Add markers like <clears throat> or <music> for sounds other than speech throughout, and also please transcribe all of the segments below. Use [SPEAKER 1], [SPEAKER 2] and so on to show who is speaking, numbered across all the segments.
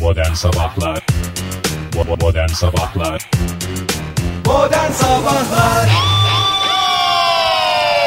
[SPEAKER 1] Modern Sabahlar Bo- Modern Sabahlar
[SPEAKER 2] Modern Sabahlar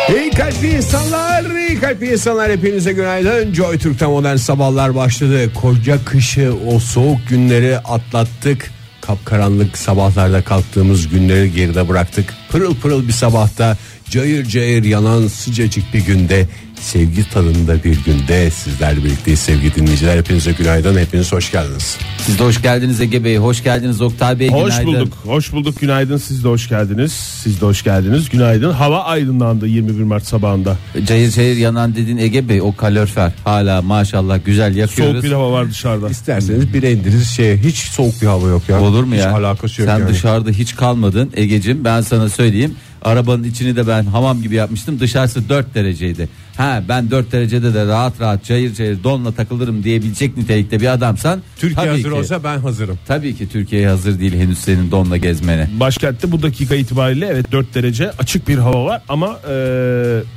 [SPEAKER 3] İyi kalpli insanlar, iyi kalpli insanlar hepinize günaydın. Joy Türk'te modern sabahlar başladı. Koca kışı, o soğuk günleri atlattık. Kapkaranlık sabahlarda kalktığımız günleri geride bıraktık. Pırıl pırıl bir sabahta, cayır cayır yanan sıcacık bir günde, sevgi tadında bir günde sizlerle birlikteyiz sevgili dinleyiciler. Hepinize günaydın, hepiniz hoş geldiniz.
[SPEAKER 4] Siz de hoş geldiniz Ege Bey, hoş geldiniz Oktay Bey.
[SPEAKER 5] Hoş
[SPEAKER 4] günaydın.
[SPEAKER 5] bulduk. Hoş bulduk. Günaydın. Siz de hoş geldiniz. Siz de hoş geldiniz. Günaydın. Hava aydınlandı 21 Mart sabahında.
[SPEAKER 4] Cayır cayır yanan dedin Ege Bey o kalorifer hala maşallah güzel
[SPEAKER 5] Soğuk
[SPEAKER 4] yakıyoruz.
[SPEAKER 5] bir hava var dışarıda.
[SPEAKER 3] İsterseniz bire indiririz şey hiç soğuk bir hava yok ya.
[SPEAKER 4] Olur mu
[SPEAKER 3] hiç
[SPEAKER 4] ya?
[SPEAKER 3] alakası yok
[SPEAKER 4] Sen
[SPEAKER 3] yani.
[SPEAKER 4] dışarıda hiç kalmadın Egecim ben sana söyleyeyim. Arabanın içini de ben hamam gibi yapmıştım. Dışarısı 4 dereceydi. Ha ben 4 derecede de rahat rahat cayır cayır donla takılırım diyebilecek nitelikte bir adamsan
[SPEAKER 3] Türkiye
[SPEAKER 4] tabii
[SPEAKER 3] hazır
[SPEAKER 4] ki,
[SPEAKER 3] olsa ben hazırım.
[SPEAKER 4] tabii ki Türkiye hazır değil henüz senin donla gezmene.
[SPEAKER 5] Başkentte bu dakika itibariyle evet 4 derece açık bir hava var ama e,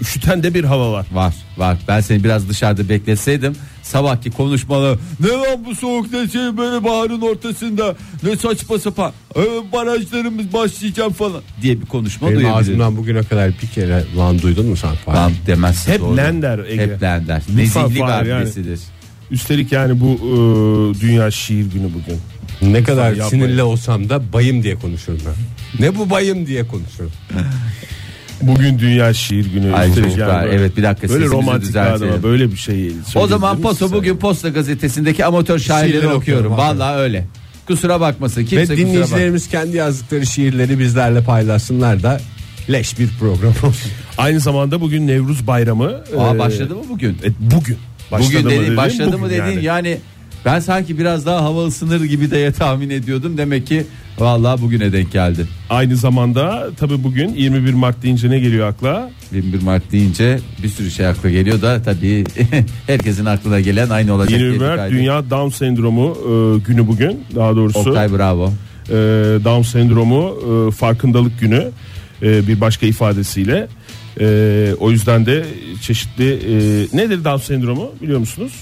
[SPEAKER 5] üşüten de bir hava var.
[SPEAKER 4] Var var ben seni biraz dışarıda bekletseydim sabahki konuşmalı ne lan bu soğuk ne şey böyle baharın ortasında ne saçma sapan ee, barajlarımız başlayacak falan diye bir konuşma
[SPEAKER 3] Benim
[SPEAKER 4] duyabilirim.
[SPEAKER 3] ağzımdan bugüne kadar bir kere lan duydun mu sen Fahir?
[SPEAKER 4] Lan demezsin
[SPEAKER 5] Hep
[SPEAKER 4] doğru.
[SPEAKER 5] lender Ege.
[SPEAKER 4] Hep lender.
[SPEAKER 5] Lütfen
[SPEAKER 4] Nezihli
[SPEAKER 5] var yani.
[SPEAKER 4] vermesidir.
[SPEAKER 5] Üstelik yani bu e, dünya şiir günü bugün.
[SPEAKER 3] Ne kadar
[SPEAKER 5] Yapmayın.
[SPEAKER 3] sinirli olsam da bayım diye konuşurum ben. Ne bu bayım diye konuşurum.
[SPEAKER 5] Bugün dünya şiir günü.
[SPEAKER 4] Ay,
[SPEAKER 5] Üstelik
[SPEAKER 4] çok
[SPEAKER 5] yani
[SPEAKER 4] var. Evet, bir dakika
[SPEAKER 5] Böyle
[SPEAKER 4] sesimizi
[SPEAKER 5] romantik bir
[SPEAKER 4] düzeltelim.
[SPEAKER 5] adama böyle bir şey.
[SPEAKER 4] O zaman
[SPEAKER 5] söyleyebilir
[SPEAKER 4] Posta
[SPEAKER 5] misin
[SPEAKER 4] bugün Posta gazetesindeki amatör şairleri
[SPEAKER 3] Şiirleri
[SPEAKER 4] okuyorum.
[SPEAKER 3] okuyorum,
[SPEAKER 4] Vallahi öyle. Kusura bakmasın
[SPEAKER 3] Ve
[SPEAKER 4] kimse kusura bakmasın.
[SPEAKER 3] dinleyicilerimiz kendi yazdıkları şiirleri bizlerle paylaşsınlar da leş bir program olsun.
[SPEAKER 5] sen? Aynı zamanda bugün Nevruz Bayramı.
[SPEAKER 4] Aa
[SPEAKER 5] E,
[SPEAKER 4] başladı mı
[SPEAKER 3] Ee,
[SPEAKER 4] bugün?
[SPEAKER 5] e, bugün. Başladı
[SPEAKER 4] bugün
[SPEAKER 5] mı
[SPEAKER 4] dedi,
[SPEAKER 5] dediğim
[SPEAKER 4] başladı
[SPEAKER 5] bugün
[SPEAKER 4] mı dediğin yani.
[SPEAKER 5] yani.
[SPEAKER 4] ben sanki biraz daha havalı sınır gibi diye tahmin ediyordum. Demek ki vallahi bugüne denk geldi.
[SPEAKER 5] Aynı zamanda tabi bugün 21 Mart deyince ne geliyor akla?
[SPEAKER 4] 21 Mart deyince bir sürü şey akla geliyor da tabii <laughs> herkesin aklına gelen aynı olacak. diye
[SPEAKER 5] 21 Mart
[SPEAKER 4] dikkat edin.
[SPEAKER 5] Dünya Down Sendromu e, günü bugün. Daha doğrusu
[SPEAKER 4] Oktay bravo.
[SPEAKER 5] e, Down Sendromu e, farkındalık günü e, bir başka ifadesiyle. E, o yüzden de çeşitli e, nedir Down Sendromu biliyor musunuz?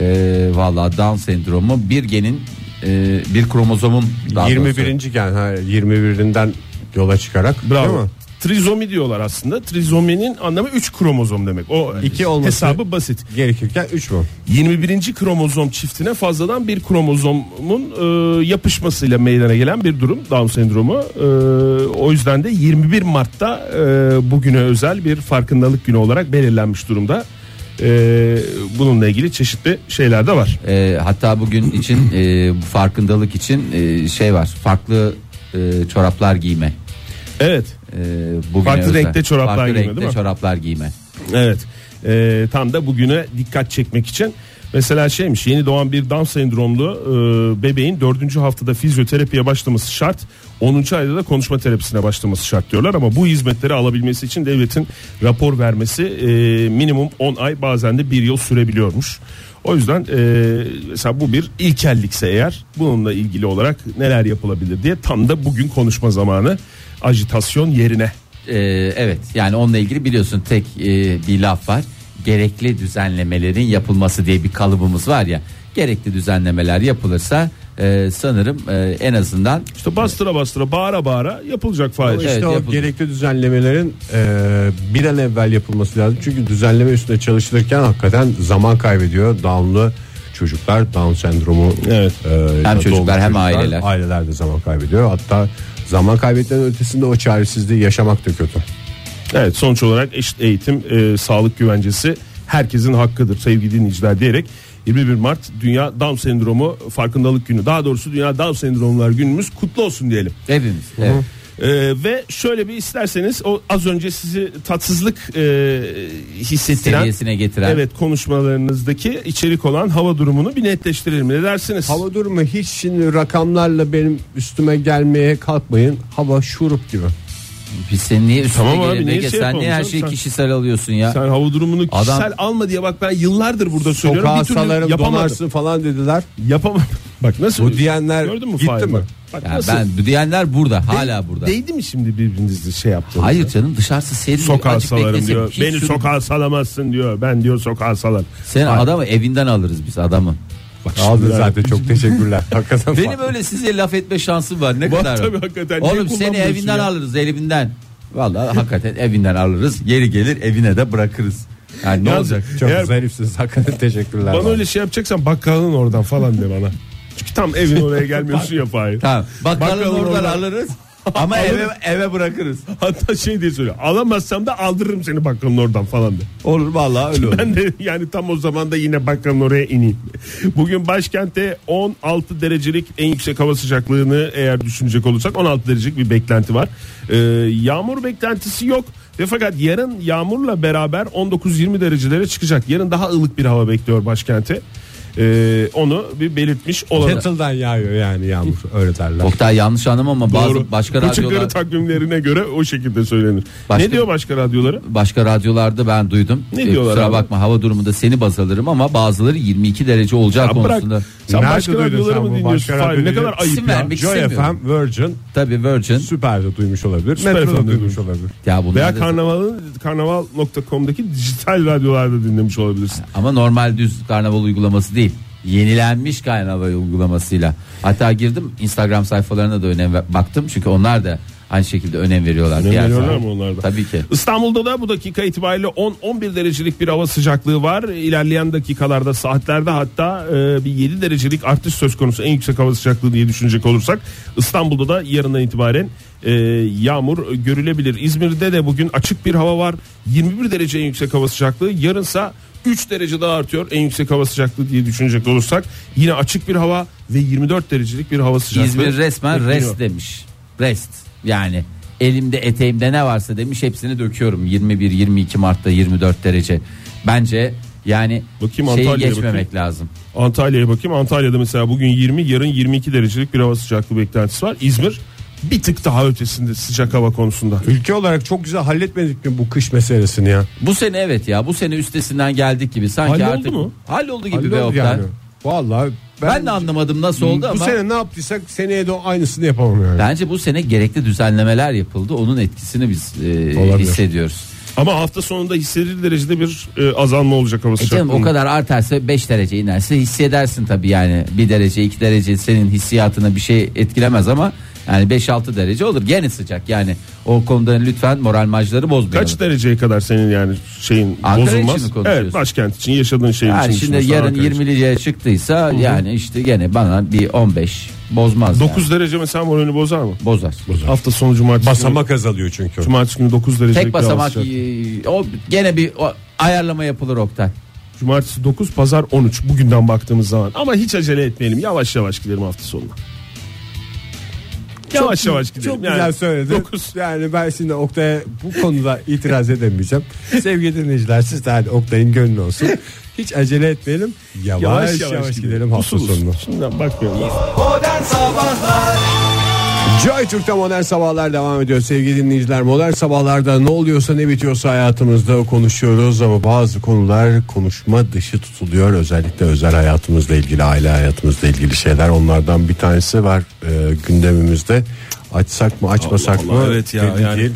[SPEAKER 4] Ee, vallahi Down sendromu bir genin e, bir kromozomun daha
[SPEAKER 3] 21. gen ha, 21'inden yola çıkarak değil
[SPEAKER 5] Bravo.
[SPEAKER 3] mi?
[SPEAKER 5] Trizomi diyorlar aslında. Trizominin anlamı 3 kromozom demek. O
[SPEAKER 3] İki olması-
[SPEAKER 5] hesabı basit.
[SPEAKER 3] Gerekirken 3 mü?
[SPEAKER 5] 21. kromozom çiftine fazladan bir kromozomun e, yapışmasıyla meydana gelen bir durum Down sendromu. E, o yüzden de 21 Mart'ta e, bugüne özel bir farkındalık günü olarak belirlenmiş durumda. E, bununla ilgili çeşitli şeyler de var.
[SPEAKER 4] Ee, hatta bugün için e, bu farkındalık için e, şey var. Farklı e, çoraplar giyme.
[SPEAKER 5] Evet,
[SPEAKER 4] Ee, bugüne
[SPEAKER 5] Farklı
[SPEAKER 4] özel.
[SPEAKER 5] renkte çoraplar
[SPEAKER 4] Farklı
[SPEAKER 5] giyme,
[SPEAKER 4] renkte
[SPEAKER 5] değil mi?
[SPEAKER 4] çoraplar giyme.
[SPEAKER 5] evet. E, tam da bugüne dikkat çekmek için. Mesela şeymiş yeni doğan bir Down sendromlu e, bebeğin 4. haftada fizyoterapiye başlaması şart. 10. ayda da konuşma terapisine başlaması şart diyorlar ama bu hizmetleri alabilmesi için devletin rapor vermesi e, minimum 10 ay bazen de 1 yıl sürebiliyormuş. O yüzden e, mesela bu bir ilkellikse eğer bununla ilgili olarak neler yapılabilir diye tam da bugün konuşma zamanı ajitasyon yerine.
[SPEAKER 4] Ee, evet yani onunla ilgili biliyorsun tek e, bir laf var. Gerekli düzenlemelerin yapılması diye bir kalıbımız var ya. Gerekli düzenlemeler yapılırsa e, sanırım e, en azından
[SPEAKER 5] İşte bastıra bastıra bağıra bağıra yapılacak faiz.
[SPEAKER 3] İşte
[SPEAKER 4] Evet,
[SPEAKER 3] o
[SPEAKER 4] yapıldı.
[SPEAKER 3] gerekli düzenlemelerin e, bir an evvel yapılması lazım. Çünkü düzenleme üstüne çalışılırken hakikaten zaman kaybediyor. Down'lu çocuklar, Down sendromu
[SPEAKER 5] Evet.
[SPEAKER 3] e, ya da
[SPEAKER 4] çocuklar
[SPEAKER 3] doğmuş
[SPEAKER 4] hem aileler.
[SPEAKER 3] Aileler de zaman kaybediyor. Hatta zaman kaybetmenin ötesinde o çaresizliği yaşamak da kötü.
[SPEAKER 5] Evet sonuç olarak eşit eğitim, e, sağlık güvencesi herkesin hakkıdır sevgili dinleyiciler diyerek 21 Mart Dünya Down Sendromu Farkındalık Günü. Daha doğrusu Dünya Down Sendromlar Günümüz kutlu olsun diyelim.
[SPEAKER 4] evimiz. Evet.
[SPEAKER 5] E, ve şöyle bir isterseniz o az önce sizi tatsızlık e, hissettiren
[SPEAKER 4] Seviyesine getiren.
[SPEAKER 5] Evet konuşmalarınızdaki içerik olan hava durumunu bir netleştirelim. Ne dersiniz?
[SPEAKER 3] Hava durumu hiç şimdi rakamlarla benim üstüme gelmeye kalkmayın. Hava şurup gibi.
[SPEAKER 4] Biz sen niye üstüne
[SPEAKER 5] Tamam abi,
[SPEAKER 4] gelelim
[SPEAKER 5] niye
[SPEAKER 4] Ege?
[SPEAKER 5] şey
[SPEAKER 4] sen niye her
[SPEAKER 5] yapalım
[SPEAKER 4] şeyi
[SPEAKER 5] sen?
[SPEAKER 4] kişisel alıyorsun ya?
[SPEAKER 5] Sen hava durumunu
[SPEAKER 4] Adam-
[SPEAKER 5] kişisel alma diye bak ben yıllardır burada söylüyorum.
[SPEAKER 3] Sokağa
[SPEAKER 5] bir türlü
[SPEAKER 3] salarım
[SPEAKER 5] yapamadım.
[SPEAKER 3] donarsın falan dediler.
[SPEAKER 5] Yapamam. <laughs> Bak nasıl?
[SPEAKER 3] Bu diyenler
[SPEAKER 5] Gördün mü
[SPEAKER 3] gitti
[SPEAKER 5] Fahir
[SPEAKER 3] mi?
[SPEAKER 5] bak? Bak
[SPEAKER 4] Ya
[SPEAKER 5] nasıl?
[SPEAKER 4] ben bu diyenler burada hala burada.
[SPEAKER 5] Değdi mi şimdi birbirinizle şey yaptınız?
[SPEAKER 4] Hayır canım dışarısı serin.
[SPEAKER 5] Sokağa
[SPEAKER 4] Azıcık
[SPEAKER 5] salarım
[SPEAKER 4] beklesin. şey
[SPEAKER 5] diyor.
[SPEAKER 4] Hiç
[SPEAKER 5] Beni
[SPEAKER 4] sürün-
[SPEAKER 5] sokağa salamazsın diyor. Ben diyor sokağa salarım.
[SPEAKER 4] Sen
[SPEAKER 5] Hayır.
[SPEAKER 4] adamı evinden alırız biz adamı.
[SPEAKER 3] Bak, Aldın zaten <laughs> çok teşekkürler. Hakikaten
[SPEAKER 4] Benim öyle size laf etme şansım var. Ne
[SPEAKER 5] Var
[SPEAKER 4] kadar?
[SPEAKER 5] tabii hakikaten. Niye
[SPEAKER 4] Oğlum seni
[SPEAKER 5] kullanmıyorsun
[SPEAKER 4] evinden
[SPEAKER 5] ya?
[SPEAKER 4] alırız evinden. Vallahi hakikaten evinden alırız. Yeri gelir evine de bırakırız. Yani ne
[SPEAKER 5] Yalnız-
[SPEAKER 4] olacak?
[SPEAKER 3] çok
[SPEAKER 5] Eğer-
[SPEAKER 3] zarifsiniz. Hakikaten teşekkürler.
[SPEAKER 5] Bana öyle şey yapacaksan bakkalın oradan falan de <laughs> bana. Çünkü tam evin oraya gelmiyorsun ya Fahir.
[SPEAKER 4] Tamam. Bakkalın
[SPEAKER 5] Bakkalın
[SPEAKER 4] oradan
[SPEAKER 5] oradan.
[SPEAKER 4] alırız. Ama eve, eve bırakırız.
[SPEAKER 5] Hatta şey diye söyle alamazsam da aldırırım seni bakkalın oradan falan de.
[SPEAKER 4] Olur vallahi öyle olur.
[SPEAKER 5] Ben de yani tam o zaman da yine bakkalın oraya ineyim. Bugün başkentte 16 derecelik en yüksek hava sıcaklığını eğer düşünecek olursak 16 derecelik bir beklenti var. Ee, yağmur beklentisi yok. Ve fakat yarın yağmurla beraber 19-20 derecelere çıkacak. Yarın daha ılık bir hava bekliyor başkenti. Ee, onu bir belirtmiş olalım.
[SPEAKER 3] Kettle'dan yağıyor yani yağmur öyle derler.
[SPEAKER 4] Oktay yanlış anlam ama bazı
[SPEAKER 5] Doğru.
[SPEAKER 4] başka
[SPEAKER 5] Açık
[SPEAKER 4] radyolar
[SPEAKER 5] ara takvimlerine göre o şekilde söylenir.
[SPEAKER 4] Başka-
[SPEAKER 5] Ne diyor başka radyoları?
[SPEAKER 4] başka radyolarda ben duydum. E,
[SPEAKER 5] Ne diyorlar
[SPEAKER 4] kusura
[SPEAKER 5] abi?
[SPEAKER 4] bakma hava durumunda seni baz alırım ama bazıları 22 derece olacağı
[SPEAKER 5] Ya bırak.
[SPEAKER 4] konusunda.
[SPEAKER 5] Sen
[SPEAKER 3] Nerede
[SPEAKER 5] başka
[SPEAKER 3] duydun
[SPEAKER 5] radyoları
[SPEAKER 3] sen
[SPEAKER 5] mı
[SPEAKER 3] bu
[SPEAKER 5] dinliyorsun?
[SPEAKER 3] başka
[SPEAKER 5] Fahir? Ne
[SPEAKER 3] radyoyu?
[SPEAKER 5] kadar ayıp
[SPEAKER 4] İsim
[SPEAKER 5] ya.
[SPEAKER 4] vermek
[SPEAKER 3] Joy
[SPEAKER 4] istemiyorum.
[SPEAKER 3] FM, Virgin,
[SPEAKER 4] Tabii Virgin.
[SPEAKER 3] Süper'de duymuş olabilir.
[SPEAKER 5] Süper
[SPEAKER 3] Metro'da
[SPEAKER 5] FM'de
[SPEAKER 3] duymuş
[SPEAKER 5] duymuş.
[SPEAKER 3] olabilir.
[SPEAKER 4] Ya bunlar
[SPEAKER 5] Veya
[SPEAKER 4] da-
[SPEAKER 5] karnavalın karnaval.com'daki dijital radyolarda dinlemiş olabilirsin.
[SPEAKER 4] Ama normal düz karnaval uygulaması değil. Yenilenmiş karnaval uygulamasıyla. Hatta girdim Instagram sayfalarına da önem ver- baktım. Çünkü onlar da aynı şekilde önem veriyorlar.
[SPEAKER 5] Önem
[SPEAKER 4] Diğer
[SPEAKER 5] veriyorlar
[SPEAKER 4] taraf-
[SPEAKER 5] mı onlar da?
[SPEAKER 4] Tabii ki.
[SPEAKER 5] İstanbul'da da bu dakika itibariyle 10-11 derecelik bir hava sıcaklığı var. İlerleyen dakikalarda saatlerde hatta e, bir 7 derecelik artış söz konusu en yüksek hava sıcaklığı diye düşünecek olursak. İstanbul'da da yarından itibaren e, yağmur görülebilir. İzmir'de de bugün açık bir hava var. 21 derece en yüksek hava sıcaklığı. Yarınsa 3 derece daha artıyor en yüksek hava sıcaklığı diye düşünecek olursak. Yine açık bir hava ve 24 derecelik bir hava sıcaklığı.
[SPEAKER 4] İzmir resmen
[SPEAKER 5] bekleniyor.
[SPEAKER 4] rest demiş. Rest. Yani elimde eteğimde ne varsa demiş hepsini döküyorum. 21 22 Mart'ta 24 derece. Bence yani
[SPEAKER 5] Bakayım
[SPEAKER 4] şeyi
[SPEAKER 5] Antalya'ya
[SPEAKER 4] geçmemek
[SPEAKER 5] bakayım.
[SPEAKER 4] lazım.
[SPEAKER 5] Antalya'ya bakayım. Antalya'da mesela bugün 20, yarın 22 derecelik bir hava sıcaklığı beklentisi var. İzmir bir tık daha ötesinde sıcak hava konusunda.
[SPEAKER 3] Ülke olarak çok güzel halletmedik mi bu kış meselesini ya?
[SPEAKER 4] Bu sene evet ya bu sene üstesinden geldik gibi sanki
[SPEAKER 5] Halloldu
[SPEAKER 4] artık
[SPEAKER 5] mu?
[SPEAKER 4] halloldu gibi be
[SPEAKER 3] Halloldu
[SPEAKER 4] Oktay.
[SPEAKER 3] yani. Vallahi
[SPEAKER 4] Ben, de anlamadım nasıl oldu
[SPEAKER 3] bu
[SPEAKER 4] ama
[SPEAKER 3] sene ne yaptıysak seneye de aynısını yapamam yani.
[SPEAKER 4] bence bu sene gerekli düzenlemeler yapıldı. Onun etkisini biz e,
[SPEAKER 3] Olabilir.
[SPEAKER 4] hissediyoruz.
[SPEAKER 5] Ama hafta sonunda hissedilir derecede bir e, azalma olacak hava
[SPEAKER 4] E
[SPEAKER 5] sıcaklığı.
[SPEAKER 4] canım o kadar artarsa 5 derece inerse hissedersin tabii yani. 1 derece 2 derece senin hissiyatına bir şey etkilemez ama yani 5-6 derece olur. Gene sıcak yani. O konuda lütfen moral majları bozmayalım.
[SPEAKER 5] Kaç dereceye kadar senin yani şeyin
[SPEAKER 4] Ankara için
[SPEAKER 5] bozulmaz?
[SPEAKER 4] mi konuşuyorsun?
[SPEAKER 5] evet, başkent için yaşadığın şehir için.
[SPEAKER 4] yani şimdi
[SPEAKER 5] düşünüyorsun,
[SPEAKER 4] yarın
[SPEAKER 5] Ankara için.
[SPEAKER 4] 20'lice çıktıysa yani işte gene bana bir 15 bozmaz.
[SPEAKER 5] 9 derece mesela moralini bozar mı?
[SPEAKER 4] yani. bozar.
[SPEAKER 5] Hafta sonu cumartesi günü,
[SPEAKER 3] Basamak azalıyor çünkü.
[SPEAKER 5] cumartesi günü 9 derecelik
[SPEAKER 4] Tek
[SPEAKER 5] bir hava
[SPEAKER 4] basamak
[SPEAKER 5] sıcaklığı.
[SPEAKER 4] e, o gene bir o, ayarlama yapılır Oktay.
[SPEAKER 5] Cumartesi 9, pazar 13 bugünden baktığımız zaman. Ama hiç acele etmeyelim. Yavaş yavaş gidelim hafta sonuna. Yavaş yavaş gidelim.
[SPEAKER 3] Çok güzel söyledin.
[SPEAKER 5] dokuz.
[SPEAKER 3] Yani ben şimdi Oktay'a bu konuda itiraz edemeyeceğim. <laughs> Sevgili dinleyiciler siz de hadi Oktay'ın
[SPEAKER 5] <laughs>
[SPEAKER 3] gönlü olsun. Hiç acele etmeyelim. Yavaş yavaş, gidelim,
[SPEAKER 5] Usul
[SPEAKER 3] hafta
[SPEAKER 5] usul.
[SPEAKER 3] sonuna.
[SPEAKER 5] Şimdiden bakmıyorum.
[SPEAKER 2] Modern Sabahlar
[SPEAKER 3] Joy Türk'te modern sabahlar devam ediyor sevgili dinleyiciler. Modern sabahlarda ne oluyorsa ne bitiyorsa hayatımızda konuşuyoruz ama bazı konular konuşma dışı tutuluyor. Özellikle özel hayatımızla ilgili, aile hayatımızla ilgili şeyler. Onlardan bir tanesi var e, gündemimizde. Açsak mı açmasak
[SPEAKER 5] Allah Allah,
[SPEAKER 3] mı?
[SPEAKER 5] evet ya,
[SPEAKER 3] belli
[SPEAKER 5] yani.
[SPEAKER 3] değil.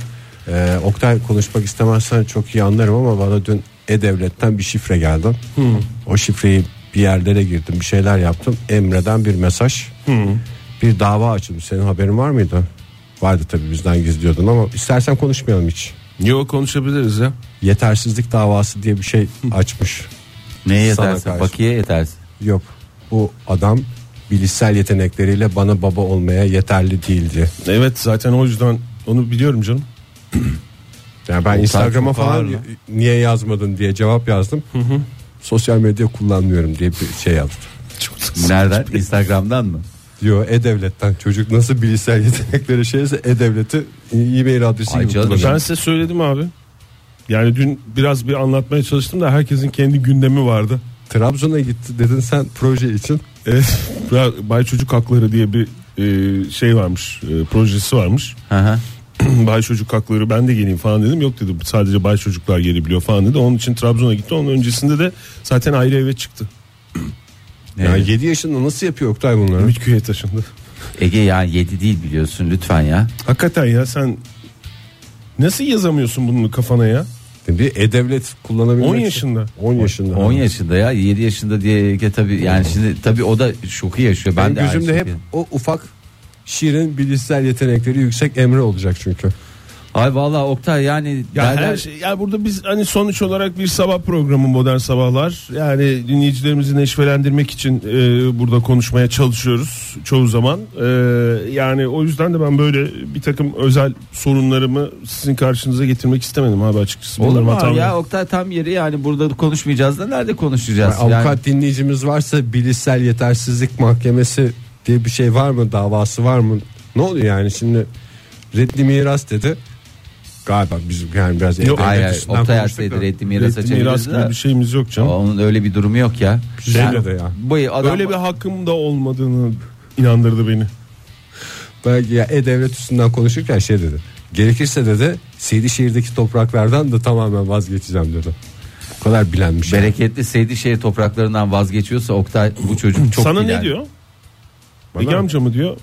[SPEAKER 3] E, Oktay konuşmak istemezsen çok iyi anlarım ama bana dün E-Devlet'ten bir şifre geldi. O şifreyi bir yerlere girdim bir şeyler yaptım. Emre'den bir mesaj. Bir dava açılmış senin haberin var mıydı? Vardı tabii bizden gizliyordun ama istersen konuşmayalım hiç.
[SPEAKER 5] Yok konuşabiliriz ya.
[SPEAKER 3] Yetersizlik davası diye bir şey açmış.
[SPEAKER 4] Neye
[SPEAKER 3] Sana
[SPEAKER 4] yetersin?
[SPEAKER 3] karşı.
[SPEAKER 4] Bakiye yetersin.
[SPEAKER 3] Yok bu adam bilişsel yetenekleriyle bana baba olmaya yeterli değildi.
[SPEAKER 5] Evet zaten o yüzden onu biliyorum canım.
[SPEAKER 3] Yani ben Instagram'a
[SPEAKER 4] çok ağır
[SPEAKER 3] falan
[SPEAKER 4] lan.
[SPEAKER 3] niye yazmadın diye cevap yazdım. Sosyal medya kullanmıyorum diye bir şey yazdım.
[SPEAKER 4] Nereden? Instagram'dan mı?
[SPEAKER 3] Diyor e-devletten çocuk nasıl bilişsel <laughs> yetenekleri şeyse e-devleti e-mail adresi
[SPEAKER 4] Ay
[SPEAKER 3] gibi
[SPEAKER 4] canım.
[SPEAKER 3] kullanıyor.
[SPEAKER 5] Ben size söyledim abi. Yani dün biraz bir anlatmaya çalıştım da herkesin kendi gündemi vardı.
[SPEAKER 3] Trabzon'a gitti dedin sen proje için.
[SPEAKER 5] Evet. <laughs> Bay Çocuk Hakları diye bir e, şey varmış. e, projesi varmış.
[SPEAKER 4] Hı hı.
[SPEAKER 5] <clears throat> Bay Çocuk Hakları ben de geleyim falan dedim. Yok dedi sadece Bay Çocuklar gelebiliyor falan dedi. Onun için Trabzon'a gitti. Onun öncesinde de zaten ayrı eve çıktı.
[SPEAKER 3] Ya 7 yaşında nasıl yapıyor Oktay bunları?
[SPEAKER 5] Ümit Köy'e taşındı.
[SPEAKER 4] Ege ya 7 değil biliyorsun lütfen ya.
[SPEAKER 5] Hakikaten ya sen nasıl yazamıyorsun bunu kafana ya?
[SPEAKER 3] E, Bir e-devlet kullanabilmek.
[SPEAKER 5] 10
[SPEAKER 3] için-
[SPEAKER 5] yaşında.
[SPEAKER 3] 10 yaşında.
[SPEAKER 4] 10 yaşında ya 7 yaşında diye ki tabii yani şimdi tabii o da şoku yaşıyor. Ben,
[SPEAKER 3] Ben
[SPEAKER 4] de aynı
[SPEAKER 3] gözümde hep
[SPEAKER 4] şoku-
[SPEAKER 3] o ufak şirin bilişsel yetenekleri yüksek Emre olacak çünkü.
[SPEAKER 4] Ay vallahi Oktay yani
[SPEAKER 5] Ya
[SPEAKER 4] derler-
[SPEAKER 5] her şey, ya burada biz hani sonuç olarak bir sabah programı modern sabahlar. Yani dinleyicilerimizi neşvelendirmek için e, burada konuşmaya çalışıyoruz çoğu zaman. E, yani o yüzden de ben böyle bir takım özel sorunlarımı sizin karşınıza getirmek istemedim abi açıkçası.
[SPEAKER 4] Olur
[SPEAKER 5] Bunlar
[SPEAKER 4] mu
[SPEAKER 5] hatam
[SPEAKER 4] abi ya
[SPEAKER 5] değil.
[SPEAKER 4] Oktay tam yeri yani burada konuşmayacağız da nerede konuşacağız?
[SPEAKER 3] Yani avukat dinleyicimiz varsa bilişsel yetersizlik mahkemesi diye bir şey var mı davası var mı? Ne oluyor yani şimdi reddi miras dedi. Galiba bizim yani biraz
[SPEAKER 5] Yok,
[SPEAKER 3] e-devlet
[SPEAKER 4] hayır, hayır.
[SPEAKER 3] üstünden
[SPEAKER 4] Oktay
[SPEAKER 3] konuştuk
[SPEAKER 4] Ersoy'du,
[SPEAKER 3] da.
[SPEAKER 4] reddi mirasa
[SPEAKER 5] Reddi miras
[SPEAKER 4] çeviririz
[SPEAKER 5] gibi
[SPEAKER 4] de.
[SPEAKER 5] bir şeyimiz yok canım.
[SPEAKER 4] Onun öyle bir durumu yok ya.
[SPEAKER 3] Şeyle de ya.
[SPEAKER 4] Bu adam,
[SPEAKER 5] Öyle bir hakkım da olmadığını inandırdı beni.
[SPEAKER 3] Belki ya e-devlet üstünden konuşurken şey dedi. Gerekirse dedi Seydişehir'deki topraklardan da tamamen vazgeçeceğim dedi. Bu kadar bilenmiş. yani.
[SPEAKER 4] bereketli Seydişehir topraklarından vazgeçiyorsa Oktay bu çocuk çok
[SPEAKER 5] Sana
[SPEAKER 4] ileride.
[SPEAKER 5] ne diyor?
[SPEAKER 3] Bana
[SPEAKER 5] Ege
[SPEAKER 3] mı?
[SPEAKER 5] amca mı diyor?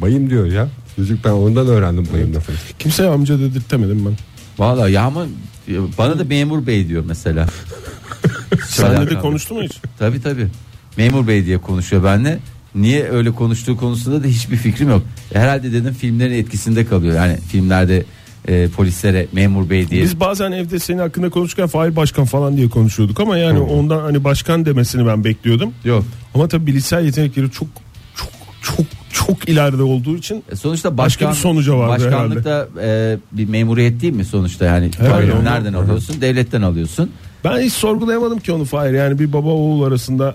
[SPEAKER 3] Bayım diyor ya. Çocuk ben ondan öğrendim bayım lafını.
[SPEAKER 5] Kimseye amca dedirtemedim ben.
[SPEAKER 4] Vallahi ya ama bana da memur bey diyor mesela.
[SPEAKER 5] Senle de
[SPEAKER 4] Alakalı.
[SPEAKER 5] konuştu mu hiç?
[SPEAKER 4] Tabi tabi. Memur Bey diye konuşuyor benle. Niye öyle konuştuğu konusunda da hiçbir fikrim yok. Herhalde dedim filmlerin etkisinde kalıyor. Yani filmlerde e, polislere memur bey diye.
[SPEAKER 5] Biz bazen evde senin hakkında konuşurken Fahir Başkan falan diye konuşuyorduk ama yani
[SPEAKER 4] Hmm.
[SPEAKER 5] ondan hani başkan demesini ben bekliyordum.
[SPEAKER 4] Yok.
[SPEAKER 5] Ama tabii bilişsel yetenekleri çok çok çok çok ileride olduğu için
[SPEAKER 4] E, Sonuçta
[SPEAKER 5] Başka
[SPEAKER 4] başkan,
[SPEAKER 5] bir sonuca vardı
[SPEAKER 4] başkanlıkta e, bir memuriyet değil mi sonuçta yani
[SPEAKER 5] Evet,
[SPEAKER 4] Parayı
[SPEAKER 5] onu-
[SPEAKER 4] nereden alıyorsun devletten alıyorsun
[SPEAKER 5] ben hiç sorgulayamadım ki onu Fahir. Yani bir baba oğul arasında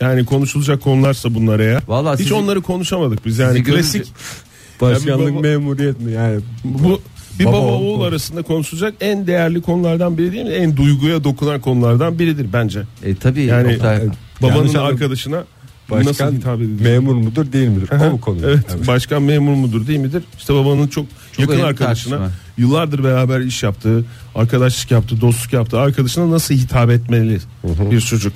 [SPEAKER 5] yani konuşulacak konularsa bunlar eğer.
[SPEAKER 4] Vallahi
[SPEAKER 5] hiç
[SPEAKER 4] sizi-
[SPEAKER 5] onları konuşamadık biz yani
[SPEAKER 4] sizi görünce-
[SPEAKER 5] klasik
[SPEAKER 3] Başkanlık
[SPEAKER 5] baba-
[SPEAKER 3] memuriyet mi yani?
[SPEAKER 5] bu bir
[SPEAKER 3] Baba
[SPEAKER 5] baba
[SPEAKER 3] oğul
[SPEAKER 5] oğul
[SPEAKER 3] konu.
[SPEAKER 5] arasında konuşulacak en değerli konulardan biri değil mi? En duyguya dokunan konulardan biridir bence.
[SPEAKER 4] e, tabii
[SPEAKER 5] Yani
[SPEAKER 4] Oktay,
[SPEAKER 5] babanın
[SPEAKER 3] Yanlış anladım.
[SPEAKER 5] arkadaşına
[SPEAKER 3] Başkan
[SPEAKER 5] nasıl hitap edilir?
[SPEAKER 3] memur mudur değil midir? O mu konu?
[SPEAKER 5] Evet,
[SPEAKER 3] Yani.
[SPEAKER 5] başkan memur mudur değil midir? İşte babanın çok, yakın
[SPEAKER 4] önemli
[SPEAKER 5] arkadaşına
[SPEAKER 4] tartışma.
[SPEAKER 5] yıllardır beraber iş yaptığı, arkadaşlık yaptığı, dostluk yaptığı arkadaşına nasıl hitap etmeli bir çocuk?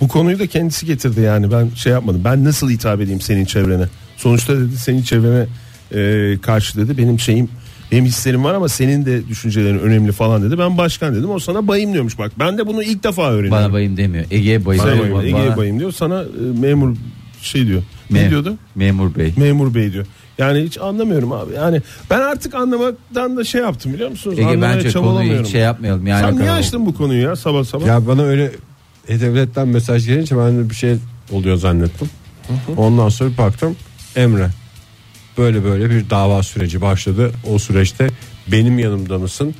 [SPEAKER 5] Bu konuyu da kendisi getirdi yani ben şey yapmadım. Ben nasıl hitap edeyim senin çevrene? Sonuçta dedi senin çevrene e, karşı dedi benim şeyim benim hislerim var ama senin de düşüncelerin önemli falan dedi. Ben başkan dedim. O sana bayım diyormuş bak. Ben de bunu ilk defa öğrendim.
[SPEAKER 4] bana bayım demiyor Ege'ye bayım,
[SPEAKER 5] Sana
[SPEAKER 4] diyor,
[SPEAKER 5] bayım,
[SPEAKER 4] bana-
[SPEAKER 5] Ege'ye bayım diyor. Sana e, memur şey diyor.
[SPEAKER 4] Mem-
[SPEAKER 5] ne diyordu?
[SPEAKER 4] memur bey
[SPEAKER 5] memur bey diyor. Yani hiç anlamıyorum abi. Yani ben artık anlamaktan da şey yaptım biliyor musunuz?
[SPEAKER 4] Ege
[SPEAKER 5] Anlamaya
[SPEAKER 4] bence konuyu
[SPEAKER 5] çabalamıyorum.
[SPEAKER 4] hiç şey yapmayalım yani
[SPEAKER 5] Sen niye açtın bu konuyu ya sabah sabah?
[SPEAKER 3] Ya bana öyle e-devletten mesaj gelince ben de bir şey oluyor zannettim. Ondan sonra bir baktım Emre böyle böyle bir dava süreci başladı. O süreçte benim yanımda mısın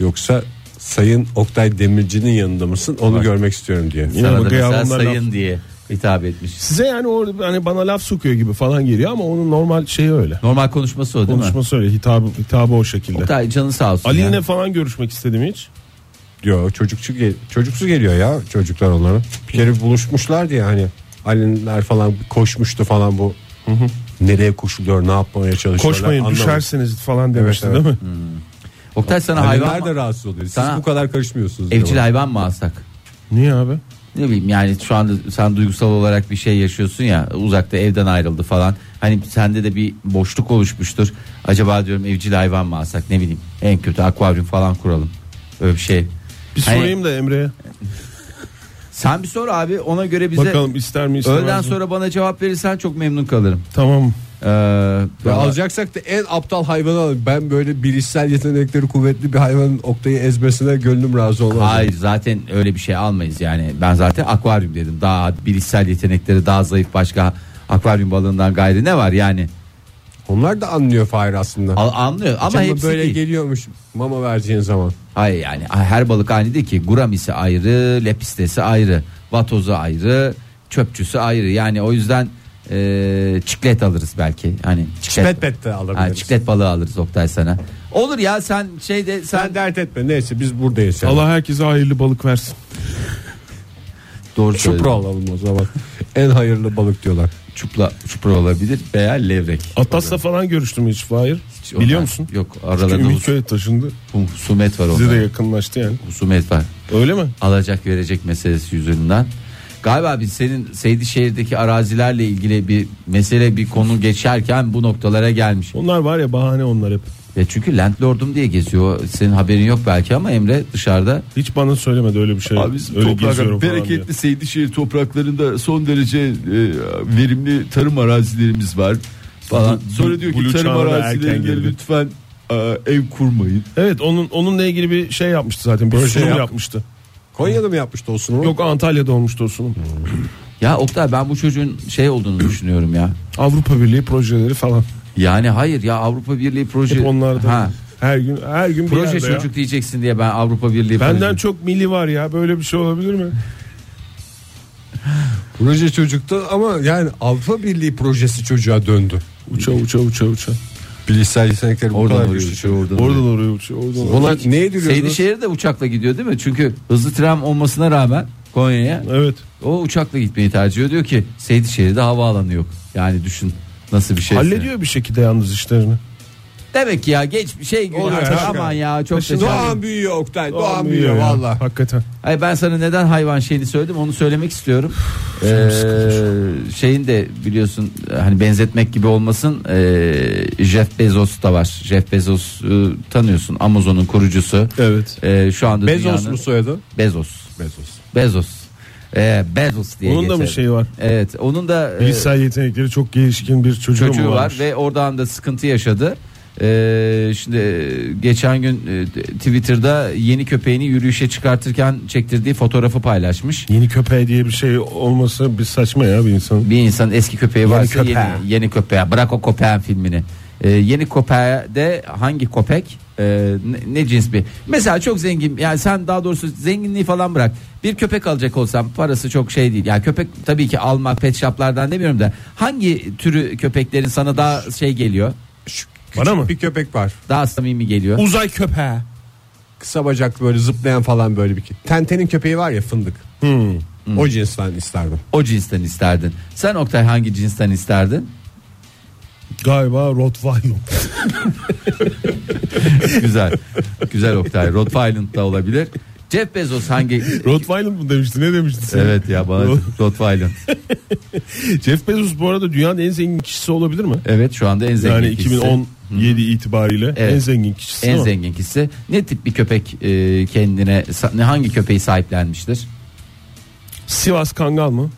[SPEAKER 3] yoksa Sayın Oktay Demirci'nin yanında mısın onu görmek istiyorum diye.
[SPEAKER 5] Yine
[SPEAKER 4] sana da
[SPEAKER 5] bak ya
[SPEAKER 4] mesela
[SPEAKER 5] bunlar laf-
[SPEAKER 4] sayın diye hitap etmiş
[SPEAKER 5] Size yani orada hani bana laf sokuyor gibi falan geliyor ama onun normal şeyi öyle.
[SPEAKER 4] normal konuşması o değil mi
[SPEAKER 5] Konuşması öyle hitabı, hitabı o şekilde.
[SPEAKER 4] Oktay canın sağ olsun ya.
[SPEAKER 5] Ali'yle falan görüşmek istedim hiç.
[SPEAKER 3] Yo çocukçu gel- çocuksu geliyor ya çocuklar onlara. Bir kere buluşmuşlardı ya hani Ali'ler falan koşmuştu falan bu. Nereye koşuluyor, ne yapmaya çalışıyorlar
[SPEAKER 5] Koşmayın
[SPEAKER 3] anlamadım.
[SPEAKER 5] düşersiniz falan demişti
[SPEAKER 3] Evet, evet.
[SPEAKER 5] değil mi?
[SPEAKER 4] Oktay sana
[SPEAKER 3] Anneler
[SPEAKER 4] hayvan
[SPEAKER 3] de rahatsız oluyor. Siz
[SPEAKER 4] Sana-
[SPEAKER 3] bu kadar karışmıyorsunuz.
[SPEAKER 4] evcil
[SPEAKER 3] diyorlar.
[SPEAKER 4] hayvan mı alsak
[SPEAKER 5] Niye abi?
[SPEAKER 4] ne bileyim yani şu anda sen duygusal olarak bir şey yaşıyorsun ya uzakta evden ayrıldı falan. Hani sende de bir boşluk oluşmuştur. Acaba diyorum evcil hayvan mı alsak ne bileyim en kötü akvaryum falan kuralım. Öyle bir şey.
[SPEAKER 5] Bir
[SPEAKER 4] Hani
[SPEAKER 5] sorayım da Emre'ye.
[SPEAKER 4] sen bir sor abi ona göre bize
[SPEAKER 5] Bakalım şey ister mi istemez
[SPEAKER 4] öğleden
[SPEAKER 5] mi?
[SPEAKER 4] sonra bana cevap verirsen çok memnun kalırım.
[SPEAKER 5] Tamam.
[SPEAKER 4] Ee,
[SPEAKER 3] Ya
[SPEAKER 4] vallahi-
[SPEAKER 3] alacaksak da en aptal hayvanı alalım. Ben böyle bilişsel yetenekleri kuvvetli bir hayvanın Oktay'ı ezmesine gönlüm razı olmaz.
[SPEAKER 4] Hayır zaten öyle bir şey almayız yani. Ben zaten akvaryum dedim. Daha bilişsel yetenekleri daha zayıf başka akvaryum balığından gayrı ne var yani?
[SPEAKER 3] Onlar da anlıyor Fahir aslında.
[SPEAKER 4] Al- anlıyor ama
[SPEAKER 3] Canım
[SPEAKER 4] hepsi
[SPEAKER 3] böyle
[SPEAKER 4] değil.
[SPEAKER 3] geliyormuş mama vereceğin zaman.
[SPEAKER 4] Hayır yani her balık aynı değil ki. Guramisi ayrı, lepistesi ayrı, vatozu ayrı, çöpçüsü ayrı. Yani o yüzden e, çiklet alırız belki. Hani çiklet,
[SPEAKER 3] Pet pet de alabiliriz.
[SPEAKER 4] Ha, çiklet balığı alırız Oktay sana. Olur ya sen şeyde sen,
[SPEAKER 3] Sen dert etme neyse biz buradayız. Yani.
[SPEAKER 5] Allah herkese hayırlı balık versin.
[SPEAKER 4] doğru
[SPEAKER 3] Çupra
[SPEAKER 4] söyledin.
[SPEAKER 3] alalım o zaman. en hayırlı balık diyorlar.
[SPEAKER 4] Çupla, çupra olabilir veya levrek.
[SPEAKER 5] Atas'la falan görüştüm hiç Fahir.
[SPEAKER 4] Hiç onlar-
[SPEAKER 5] Biliyor musun?
[SPEAKER 4] Yok
[SPEAKER 5] Çünkü
[SPEAKER 4] aralarında hus-
[SPEAKER 5] Ümitköy'e taşındı.
[SPEAKER 4] husumet var
[SPEAKER 5] Bize de
[SPEAKER 4] onlar.
[SPEAKER 5] yakınlaştı yani.
[SPEAKER 4] Husumet var.
[SPEAKER 5] Öyle mi?
[SPEAKER 4] alacak verecek meselesi yüzünden. Galiba biz senin Seydişehir'deki arazilerle ilgili bir mesele bir konu geçerken bu noktalara gelmiş.
[SPEAKER 5] Onlar var ya bahane onlar hep.
[SPEAKER 4] Ya çünkü landlordum diye geziyor. Senin haberin yok belki ama Emre dışarıda
[SPEAKER 5] Hiç bana söylemedi öyle bir şey.
[SPEAKER 6] Abi bizim
[SPEAKER 5] öyle geziyorum
[SPEAKER 6] topraklar
[SPEAKER 5] falan
[SPEAKER 6] bereketli Seydişehir topraklarında son derece e, verimli tarım arazilerimiz var falan.
[SPEAKER 5] Bu-
[SPEAKER 6] Sonra diyor ki
[SPEAKER 5] Blue
[SPEAKER 6] tarım
[SPEAKER 5] Çağ'a da erken
[SPEAKER 6] arazilerinde
[SPEAKER 5] girdi.
[SPEAKER 6] lütfen e, ev kurmayın.
[SPEAKER 5] diye. Evet onun onunla ilgili bir şey yapmıştı zaten. Bir
[SPEAKER 3] Proje
[SPEAKER 5] sunum
[SPEAKER 3] yap-
[SPEAKER 5] yapmıştı.
[SPEAKER 3] Konya'da mı yapmıştı o sunumu?
[SPEAKER 5] Yok Antalya'da olmuştu o sunum.
[SPEAKER 4] Ya Oktay ben bu çocuğun
[SPEAKER 5] <clears throat>
[SPEAKER 4] şey olduğunu düşünüyorum ya.
[SPEAKER 5] Avrupa Birliği projeleri falan.
[SPEAKER 4] Yani hayır ya Avrupa Birliği proje.
[SPEAKER 5] Hep onlarda.
[SPEAKER 4] Şey, Ha,
[SPEAKER 5] Her gün her gün bir
[SPEAKER 4] proje
[SPEAKER 5] yerde ya.
[SPEAKER 4] çocuk diyeceksin diye ben Avrupa Birliği
[SPEAKER 5] Benden
[SPEAKER 4] proje-
[SPEAKER 5] çok milli var ya böyle bir şey olabilir mi?
[SPEAKER 3] Proje çocukta ama yani Avrupa Birliği projesi çocuğa döndü.
[SPEAKER 5] Uça uça uça uça.
[SPEAKER 3] Bilişsel yetenekleri bu
[SPEAKER 4] Oradan
[SPEAKER 3] kadar
[SPEAKER 4] oraya
[SPEAKER 3] güçlü.
[SPEAKER 4] uçuyor,
[SPEAKER 3] çocuk.
[SPEAKER 4] oradan
[SPEAKER 5] Oradan oraya uça oradan oraya.
[SPEAKER 3] Ona neye gülüyorsunuz?
[SPEAKER 4] Seydişehir de uçakla gidiyor değil mi? Çünkü hızlı tren olmasına rağmen Konya'ya
[SPEAKER 5] Evet.
[SPEAKER 4] o uçakla gitmeyi tercih ediyor diyor ki Seydişehir'de havaalanı yok. Yani düşün nasıl bir şey.
[SPEAKER 5] Hallediyor bir şekilde yalnız işlerini.
[SPEAKER 4] Demek ki ya geç bir şey günü
[SPEAKER 3] Oluyor
[SPEAKER 4] artık.
[SPEAKER 3] ya.
[SPEAKER 4] aman ya çok da
[SPEAKER 3] Doğan büyüyor Oktay. Doğan
[SPEAKER 5] Olmuyor
[SPEAKER 3] büyüyor
[SPEAKER 5] ya,
[SPEAKER 3] valla.
[SPEAKER 5] Hakikaten.
[SPEAKER 4] Hayır ben sana neden hayvan şeyini söyledim onu söylemek istiyorum. Ee, şeyin de biliyorsun hani benzetmek gibi olmasın ee, Jeff Bezos da var. Jeff Bezos e, tanıyorsun Amazon'un kurucusu.
[SPEAKER 5] Evet.
[SPEAKER 4] Ee, şu anda
[SPEAKER 3] Bezos
[SPEAKER 4] dünyanın-
[SPEAKER 3] mu soyadı?
[SPEAKER 4] Bezos.
[SPEAKER 3] Bezos.
[SPEAKER 4] Bezos. Ee, Bezos diye
[SPEAKER 5] Onun da mı
[SPEAKER 4] geçer.
[SPEAKER 5] şeyi var?
[SPEAKER 4] Evet onun da e,
[SPEAKER 5] Bilişsel yetenekleri çok gelişkin bir çocuğu,
[SPEAKER 4] çocuğu
[SPEAKER 5] mu
[SPEAKER 4] var
[SPEAKER 5] varmış?
[SPEAKER 4] ve oradan da sıkıntı yaşadı. Ee, şimdi e, geçen gün e, Twitter'da yeni köpeğini yürüyüşe çıkartırken çektirdiği fotoğrafı paylaşmış.
[SPEAKER 5] Yeni köpeği diye bir şey olması bir saçma ya bir insan.
[SPEAKER 4] Bir insan eski köpeği varsa yeni,
[SPEAKER 3] köpeğe.
[SPEAKER 4] yeni, köpeğe bırak o köpeğin filmini. Ee, yeni köpeğde hangi köpek e, ne, ne cins bir mesela çok zengin yani sen daha doğrusu zenginliği falan bırak bir köpek alacak olsam parası çok şey değil yani köpek tabii ki almak pet shoplardan demiyorum da hangi türü köpeklerin sana daha şey geliyor
[SPEAKER 3] Şu küçük
[SPEAKER 5] Bana mı?
[SPEAKER 3] bir köpek var.
[SPEAKER 4] daha samimi geliyor
[SPEAKER 5] Uzay köpeği.
[SPEAKER 3] Kısa bacaklı böyle zıplayan falan böyle bir ki. Tentenin köpeği var ya fındık.
[SPEAKER 5] Hmm.
[SPEAKER 3] O cinsten isterdim.
[SPEAKER 4] o cinsten isterdin sen Oktay hangi cinsten isterdin
[SPEAKER 5] Galiba
[SPEAKER 4] <laughs>
[SPEAKER 5] Rottweiler. <laughs>
[SPEAKER 4] güzel güzel Oktay Rottweiler da olabilir Jeff Bezos hangi
[SPEAKER 5] Rottweiler mı demişti ne demişti sen?
[SPEAKER 4] Evet ya bana
[SPEAKER 5] Rot-
[SPEAKER 4] Rottweiler.
[SPEAKER 5] Jeff Bezos bu arada dünyanın en zengin kişisi olabilir mi?
[SPEAKER 4] Evet şu anda en zengin
[SPEAKER 5] yani
[SPEAKER 4] kişisi.
[SPEAKER 5] 2017 itibariyle
[SPEAKER 4] Evet.
[SPEAKER 5] en zengin kişisi.
[SPEAKER 4] en
[SPEAKER 5] ama
[SPEAKER 4] zengin kişisi. Ne tip bir köpek e, kendine sa- ne- hangi köpeği sahiplenmiştir?
[SPEAKER 5] Sivas Kangal mı?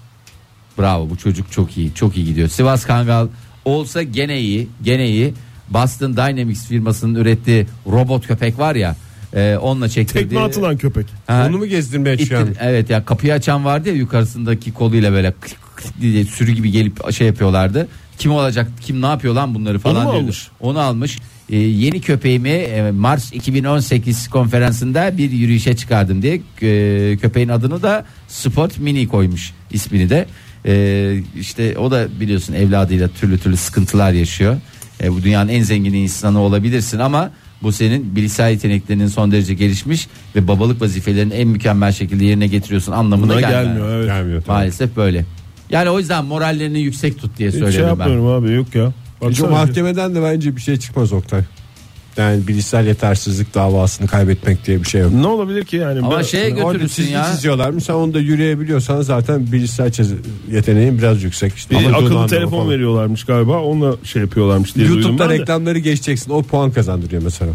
[SPEAKER 4] Bravo bu çocuk çok iyi. Çok iyi gidiyor. Sivas Kangal olsa gene iyi. Gene iyi. Boston Dynamics firmasının ürettiği robot köpek var ya. e, onunla çektirdiği.
[SPEAKER 5] Tekme atılan köpek.
[SPEAKER 4] Ha,
[SPEAKER 3] Onu mu gezdirmeye
[SPEAKER 4] İttir-
[SPEAKER 3] çalışıyorsun?
[SPEAKER 4] evet ya kapıyı açan vardı ya yukarısındaki koluyla böyle klik klik diye sürü gibi gelip şey yapıyorlardı. Kim olacak kim ne yapıyor lan bunları falan
[SPEAKER 5] mu
[SPEAKER 4] diyordu.
[SPEAKER 5] almış?
[SPEAKER 4] Onu almış. Ee, yeni köpeğimi e, Mars 2018 konferansında bir yürüyüşe çıkardım diye e, köpeğin adını da Spot Mini koymuş ismini de. E, işte o da biliyorsun evladıyla türlü türlü sıkıntılar yaşıyor. E, bu dünyanın en zengin insanı olabilirsin ama bu senin bilgisayar yeteneklerinin son derece gelişmiş ve babalık vazifelerini en mükemmel şekilde yerine getiriyorsun anlamına
[SPEAKER 5] Buna
[SPEAKER 4] gelmiyor.
[SPEAKER 5] gelmiyor. Evet.
[SPEAKER 3] Gelmiyor.
[SPEAKER 4] Maalesef böyle. Yani o yüzden morallerini yüksek tut diye
[SPEAKER 5] Hiç şey
[SPEAKER 4] söylüyorum ben.
[SPEAKER 5] yapmıyorum abi yok ya.
[SPEAKER 3] Hiç o
[SPEAKER 5] Baksana.
[SPEAKER 3] mahkemeden de bence bir şey çıkmaz Oktay. Yani bilişsel yetersizlik davasını kaybetmek diye bir şey yok. Hani
[SPEAKER 5] Ne olabilir ki yani?
[SPEAKER 4] Ama şey-
[SPEAKER 5] Ben-
[SPEAKER 4] şeye
[SPEAKER 3] Orada
[SPEAKER 4] götürürsün
[SPEAKER 3] çizgi
[SPEAKER 4] ya.
[SPEAKER 3] çiziyorlar. Sen onu da yürüyebiliyorsan zaten bilişsel çiz- yeteneğin biraz yüksek. işte.
[SPEAKER 5] Bir
[SPEAKER 3] Ama duyduğun
[SPEAKER 5] akıllı
[SPEAKER 3] anlamı
[SPEAKER 5] telefon
[SPEAKER 3] falan.
[SPEAKER 5] veriyorlarmış galiba. Onunla şey yapıyorlarmış diye duydum
[SPEAKER 3] YouTube'da
[SPEAKER 5] ben de.
[SPEAKER 3] reklamları geçeceksin. O puan kazandırıyor mesela.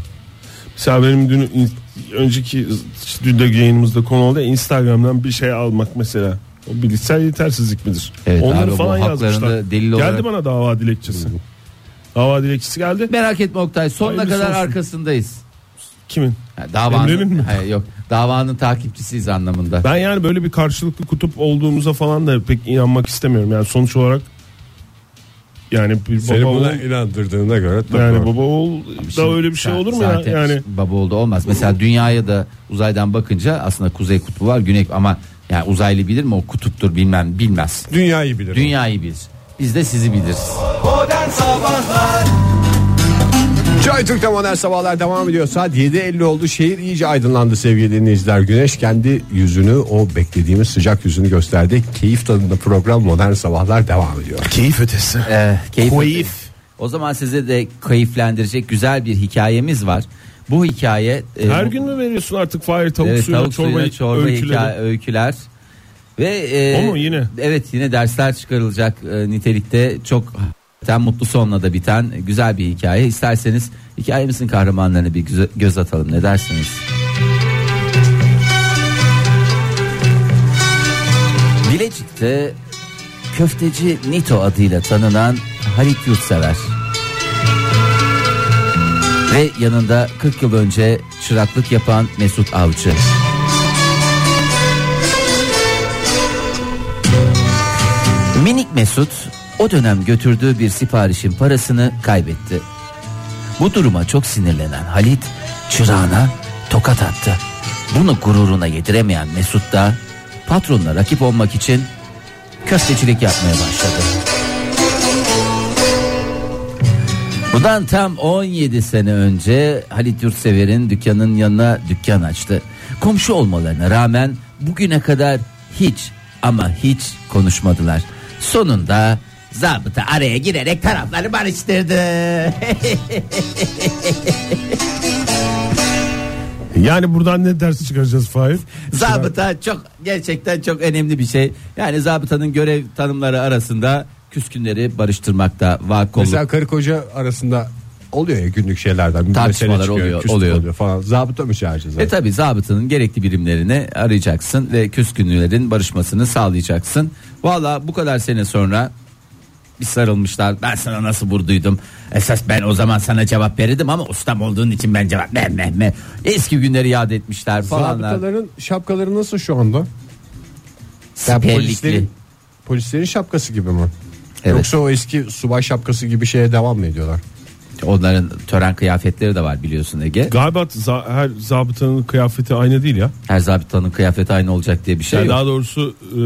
[SPEAKER 5] Mesela benim dün in- önceki dün de yayınımızda konu oldu. ya, Instagram'dan bir şey almak mesela. O bilişsel yetersizlik midir?
[SPEAKER 4] Evet abi,
[SPEAKER 5] Onları
[SPEAKER 4] bu
[SPEAKER 5] falan
[SPEAKER 4] haklarında
[SPEAKER 5] yazmışlar.
[SPEAKER 4] delil
[SPEAKER 5] geldi
[SPEAKER 4] olarak-
[SPEAKER 5] bana dava dilekçesi. Dava dilekçesi geldi.
[SPEAKER 4] Merak etme Oktay sonuna
[SPEAKER 5] Hayırlısı
[SPEAKER 4] kadar
[SPEAKER 5] olsun.
[SPEAKER 4] arkasındayız.
[SPEAKER 5] Kimin?
[SPEAKER 4] Yani davanın
[SPEAKER 5] Emre'nin mi?
[SPEAKER 4] Hayır, yok. Davanın takipçisiyiz anlamında.
[SPEAKER 5] Ben yani böyle bir karşılıklı kutup olduğumuza falan da pek inanmak istemiyorum. Yani sonuç olarak yani bir baba
[SPEAKER 3] Seni
[SPEAKER 5] oğul,
[SPEAKER 3] buna inandırdığına göre tabii.
[SPEAKER 5] yani baba oğul da öyle bir şey
[SPEAKER 4] Sa-
[SPEAKER 5] olur mu ya?
[SPEAKER 4] zaten
[SPEAKER 5] Yani
[SPEAKER 4] baba oldu olmaz. Mesela dünyaya da uzaydan bakınca aslında kuzey kutbu var, güney ama yani uzaylı bilir mi o kutuptur bilmem bilmez.
[SPEAKER 3] Dünyayı bilir.
[SPEAKER 4] Dünyayı bilir. Biz de sizi biliriz.
[SPEAKER 2] Modern Sabahlar
[SPEAKER 3] Joy Türk'te modern sabahlar devam ediyor. Saat 7.50 oldu. Şehir iyice aydınlandı sevgili dinleyiciler. Güneş kendi yüzünü o beklediğimiz sıcak yüzünü gösterdi. Keyif tadında program modern sabahlar devam ediyor.
[SPEAKER 5] keyif ötesi.
[SPEAKER 4] Ee, keyif.
[SPEAKER 5] Keyif.
[SPEAKER 4] O zaman size de keyiflendirecek güzel bir hikayemiz var. Bu hikaye e,
[SPEAKER 5] Her
[SPEAKER 4] bu-
[SPEAKER 5] gün mü veriyorsun artık Fahir tavuk
[SPEAKER 4] evet,
[SPEAKER 5] suyuna,
[SPEAKER 4] tavuk
[SPEAKER 5] çorba,
[SPEAKER 4] suyuna çorba
[SPEAKER 5] öyküleri?
[SPEAKER 4] hikaye- öyküler ve e,
[SPEAKER 5] O mu yine?
[SPEAKER 4] Evet yine dersler çıkarılacak e, nitelikte çok Zaten mutlu sonla da biten güzel bir hikaye. İsterseniz hikayemizin kahramanlarını bir güze- göz atalım ne dersiniz? Bilecik'te köfteci Nito adıyla tanınan Halit Yurtsever. Ve yanında 40 yıl önce çıraklık yapan Mesut Avcı. Minik Mesut o dönem götürdüğü bir siparişin parasını kaybetti. Bu duruma çok sinirlenen Halit çırağına tokat attı. Bunu gururuna yediremeyen Mesut da patronla rakip olmak için köstecilik yapmaya başladı. Bundan tam 17 sene önce Halit Yurtsever'in dükkanın yanına dükkan açtı. Komşu olmalarına rağmen bugüne kadar hiç ama hiç konuşmadılar. Sonunda zabıta araya girerek tarafları barıştırdı. <laughs>
[SPEAKER 5] Yani buradan ne ders çıkaracağız Fahir?
[SPEAKER 4] zabıta çok gerçekten çok önemli bir şey. Yani zabıtanın görev tanımları arasında küskünleri barıştırmakta vakolluk
[SPEAKER 3] Mesela karı koca arasında oluyor ya günlük şeylerden. Bir
[SPEAKER 4] Tartışmalar
[SPEAKER 3] mesele çıkıyor,
[SPEAKER 4] oluyor,
[SPEAKER 3] küslük
[SPEAKER 4] oluyor.
[SPEAKER 3] falan. Zabıta mı çağıracağız?
[SPEAKER 4] E tabi zabıtanın gerekli birimlerini arayacaksın ve küskünlerin barışmasını sağlayacaksın. Valla bu kadar sene sonra bir sarılmışlar. Ben sana nasıl vurduydum? Esas ben o zaman sana cevap verirdim ama ustam olduğun için ben cevap vermem. mi? Eski günleri yad etmişler falanlar.
[SPEAKER 3] Zabıtaların şapkaları nasıl şu anda? Ya
[SPEAKER 4] Siperlikli.
[SPEAKER 3] polislerin, polislerin şapkası gibi mi?
[SPEAKER 4] Evet.
[SPEAKER 3] Yoksa o eski subay şapkası gibi şeye devam mı ediyorlar?
[SPEAKER 4] Onların tören kıyafetleri de var biliyorsun Ege.
[SPEAKER 5] Galiba za- her zabıtanın kıyafeti aynı değil ya.
[SPEAKER 4] Her zabıtanın kıyafeti aynı olacak diye bir şey
[SPEAKER 5] Yani
[SPEAKER 4] yok.
[SPEAKER 5] daha doğrusu e,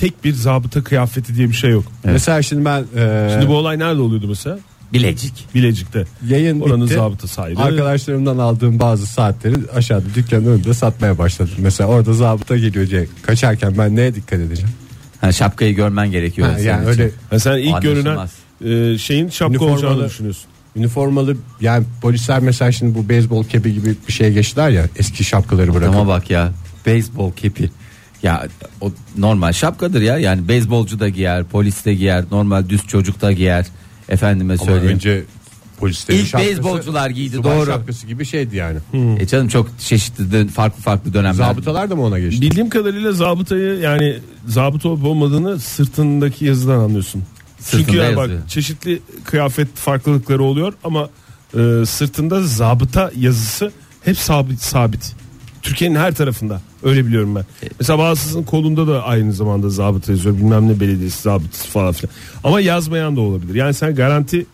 [SPEAKER 5] tek bir zabıta kıyafeti diye bir şey yok.
[SPEAKER 3] Mesela şimdi ben e,
[SPEAKER 5] Şimdi bu olay nerede oluyordu mesela?
[SPEAKER 4] Bilecik.
[SPEAKER 5] Bilecik'te.
[SPEAKER 3] yayın
[SPEAKER 5] Oranın
[SPEAKER 3] bitti.
[SPEAKER 5] zabıtası ayrı.
[SPEAKER 3] Arkadaşlarımdan aldığım bazı saatleri aşağıda dükkanın önünde satmaya başladım. Mesela orada zabıta geliyor diye kaçarken ben neye dikkat edeceğim?
[SPEAKER 4] Ha, şapkayı görmen gerekiyor.
[SPEAKER 3] Ha,
[SPEAKER 4] senin
[SPEAKER 3] yani
[SPEAKER 4] için.
[SPEAKER 3] öyle
[SPEAKER 5] Yani sen ilk görünen
[SPEAKER 4] Anlaşılmaz.
[SPEAKER 5] e, şeyin şapka
[SPEAKER 3] Üniformalı.
[SPEAKER 5] olacağını düşünüyorsun.
[SPEAKER 3] üniformalı yani polisler mesela şimdi bu beyzbol kepi gibi bir şey geçtiler ya eski şapkaları bırakıp.
[SPEAKER 4] Adama bak ya. Beyzbol kepi. Ya o normal şapkadır ya. Yani beyzbolcu da giyer, polis de giyer, normal düz çocuk da giyer. Efendime
[SPEAKER 3] Ama
[SPEAKER 4] söyleyeyim.
[SPEAKER 3] önce polislerin
[SPEAKER 4] İlk
[SPEAKER 3] şapkası,
[SPEAKER 4] beyzbolcular giydi
[SPEAKER 3] subay
[SPEAKER 4] doğru.
[SPEAKER 3] şapkası gibi şeydi yani.
[SPEAKER 4] E canım çok çeşitli dön- farklı farklı dönemler.
[SPEAKER 3] Zabıtalar da mı ona geçti?
[SPEAKER 5] Bildiğim kadarıyla zabıtayı yani zabıta olup olmadığını sırtındaki yazıdan anlıyorsun.
[SPEAKER 4] Sırtında
[SPEAKER 5] Çünkü yani bak
[SPEAKER 4] yazıyor.
[SPEAKER 5] çeşitli kıyafet farklılıkları oluyor ama e, sırtında zabıta yazısı hep sabit sabit. Türkiye'nin her tarafında öyle biliyorum ben.
[SPEAKER 4] E-
[SPEAKER 5] Mesela bazısının kolunda da aynı zamanda zabıta yazıyor. Bilmem ne belediyesi zabıtası falan filan. Ama yazmayan da olabilir. Yani sen garanti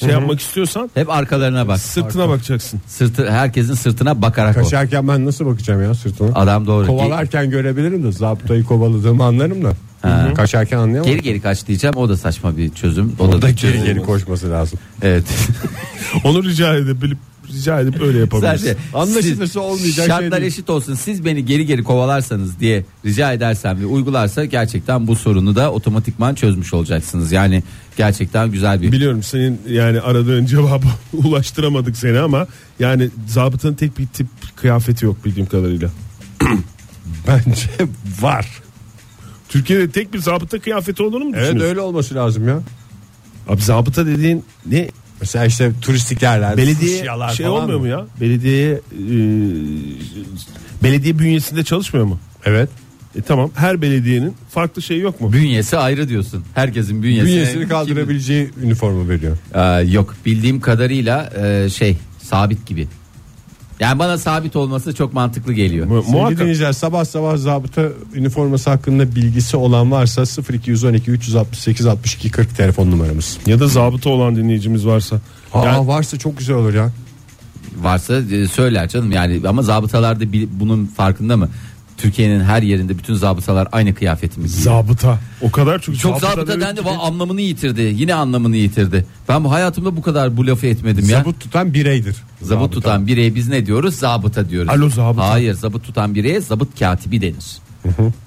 [SPEAKER 5] şey yapmak istiyorsan
[SPEAKER 4] Hep arkalarına bak.
[SPEAKER 5] sırtına bakacaksın.
[SPEAKER 4] Sırtı herkesin sırtına bakarak o.
[SPEAKER 3] Kaçarken ben nasıl bakacağım ya sırtına?
[SPEAKER 4] Adam doğru. Ge-
[SPEAKER 3] Kovalarken görebilirim de zabıtayı kovaladığımı anlarım da. Kaçarken anlayamam.
[SPEAKER 4] Geri geri kaç diyeceğim. O da saçma bir çözüm. O,
[SPEAKER 3] O da geri
[SPEAKER 4] çözüm
[SPEAKER 3] geri
[SPEAKER 4] olmaz.
[SPEAKER 3] koşması lazım.
[SPEAKER 4] Evet. <laughs>
[SPEAKER 5] Onu rica edip bilip rica edip öyle yapabilirsin.
[SPEAKER 4] Sadece
[SPEAKER 3] Anlaşılırsa
[SPEAKER 4] siz-
[SPEAKER 3] olmayacak şey
[SPEAKER 4] Şartlar
[SPEAKER 3] değil.
[SPEAKER 4] eşit olsun. Siz beni geri geri kovalarsanız diye rica edersem ve uygularsa gerçekten bu sorunu da otomatikman çözmüş olacaksınız. Yani gerçekten güzel bir
[SPEAKER 5] Biliyorum senin yani aradığın cevabı <laughs> ulaştıramadık seni ama yani zabıtanın tek bir tip kıyafeti yok bildiğim kadarıyla.
[SPEAKER 3] <clears throat> Bence var.
[SPEAKER 5] Türkiye'de tek bir zabıta kıyafeti olduğunu mu
[SPEAKER 3] Evet
[SPEAKER 5] düşünüyorsun?
[SPEAKER 3] öyle olması lazım ya.
[SPEAKER 5] Abi zabıta dediğin ne?
[SPEAKER 3] Mesela işte turistik yerler.
[SPEAKER 5] Belediye
[SPEAKER 3] fuşyalar
[SPEAKER 5] şey
[SPEAKER 3] falan
[SPEAKER 5] olmuyor
[SPEAKER 3] mı?
[SPEAKER 5] mu ya? Belediye e, belediye bünyesinde çalışmıyor mu?
[SPEAKER 3] Evet.
[SPEAKER 5] E tamam her belediyenin farklı şeyi yok mu?
[SPEAKER 4] bünyesi ayrı diyorsun. Herkesin bünyesi.
[SPEAKER 3] Bünyesini kaldırabileceği üniforma veriyor.
[SPEAKER 4] Ee, yok bildiğim kadarıyla e, şey sabit gibi. Yani bana sabit olması çok mantıklı geliyor.
[SPEAKER 5] Mu-
[SPEAKER 3] Muhakkak.
[SPEAKER 5] muhakkak
[SPEAKER 3] dinleyiciler sabah sabah zabıta üniforması hakkında bilgisi olan varsa 0212 368 62 40 telefon numaramız.
[SPEAKER 5] ya da zabıta olan dinleyicimiz varsa.
[SPEAKER 3] Aa,
[SPEAKER 5] Yani
[SPEAKER 3] varsa çok güzel olur ya.
[SPEAKER 4] Varsa e, söyler canım yani ama zabıtalar da bil- bunun farkında mı? Türkiye'nin her yerinde bütün zabıtalar aynı kıyafeti mi giyiyor?
[SPEAKER 5] zabıta o kadar çok
[SPEAKER 4] Çok zabıta dendi va- anlamını yitirdi. Yine anlamını yitirdi. Ben bu hayatımda bu kadar bu lafı etmedim ya.
[SPEAKER 3] Zabıt tutan bireydir.
[SPEAKER 4] Zabıt tutan bireye biz ne diyoruz? Zabıta diyoruz.
[SPEAKER 5] Alo, zabıta.
[SPEAKER 4] Hayır zabıt tutan bireye zabıt katibi denir.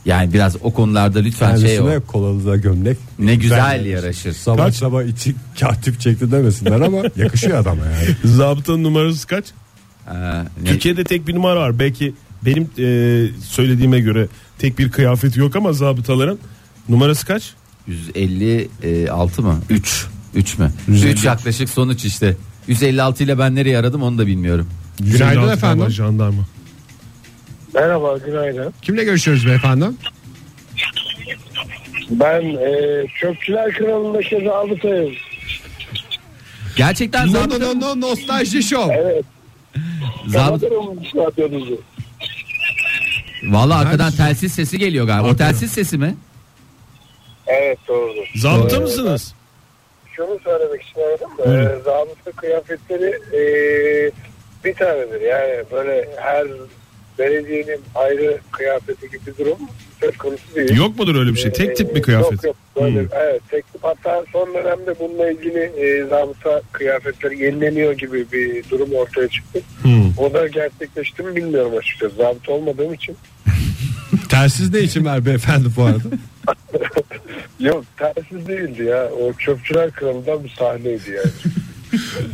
[SPEAKER 4] Yani biraz o konularda lütfen şey ol.
[SPEAKER 3] Kendisine şey. kolalı da gömlek.
[SPEAKER 4] Ne güzel yaraşır.
[SPEAKER 3] Sabah sabah içi <laughs> katip çekti demesinler ama yakışıyor adama yani.
[SPEAKER 5] Zabıtanın numarası kaç?
[SPEAKER 4] Ha, ne-
[SPEAKER 5] Türkiye'de tek bir numara var. Belki benim e, söylediğime göre tek bir kıyafeti yok ama zabıtaların numarası kaç?
[SPEAKER 4] 156 e, mı? 3. 3 mü? 3 yaklaşık sonuç işte. 156 ile ben nereye aradım onu da bilmiyorum.
[SPEAKER 7] Günaydın
[SPEAKER 5] 156
[SPEAKER 7] efendim.
[SPEAKER 5] normal Jandarma.
[SPEAKER 8] Merhaba günaydın.
[SPEAKER 7] Kimle görüşüyoruz beyefendi?
[SPEAKER 8] Ben e, Çöpçüler Kralı'nda kez Altay'ım.
[SPEAKER 4] Gerçekten
[SPEAKER 3] No
[SPEAKER 4] zabıta,
[SPEAKER 3] no no no nostalji show.
[SPEAKER 8] Evet.
[SPEAKER 4] zabıta,
[SPEAKER 8] Kapatırım radyonuzu.
[SPEAKER 4] Valla arkadan
[SPEAKER 6] şey.
[SPEAKER 4] telsiz sesi geliyor galiba. O telsiz sesi mi?
[SPEAKER 8] Evet doğru.
[SPEAKER 5] Zabıta mısınız?
[SPEAKER 8] Şunu söylemek için aradım da e, zabıta kıyafetleri e, bir tanedir. Yani böyle her belediyenin ayrı kıyafeti gibi bir durum söz konusu değil.
[SPEAKER 5] Yok mudur öyle bir şey? Tek tip
[SPEAKER 8] Ee,
[SPEAKER 5] bir kıyafet.
[SPEAKER 8] Yok yok. Böyle,
[SPEAKER 5] Hmm.
[SPEAKER 8] Evet tek tip. Hatta son dönemde bununla ilgili e, zabıta kıyafetleri yenileniyor gibi bir durum ortaya çıktı. O da gerçekleşti mi bilmiyorum açıkçası. Zabıta olmadığım için.
[SPEAKER 3] Telsiz ne için var beyefendi bu arada?
[SPEAKER 8] <laughs> Yok tersiz değildi ya. O çöpçüler kralından bir sahneydi yani.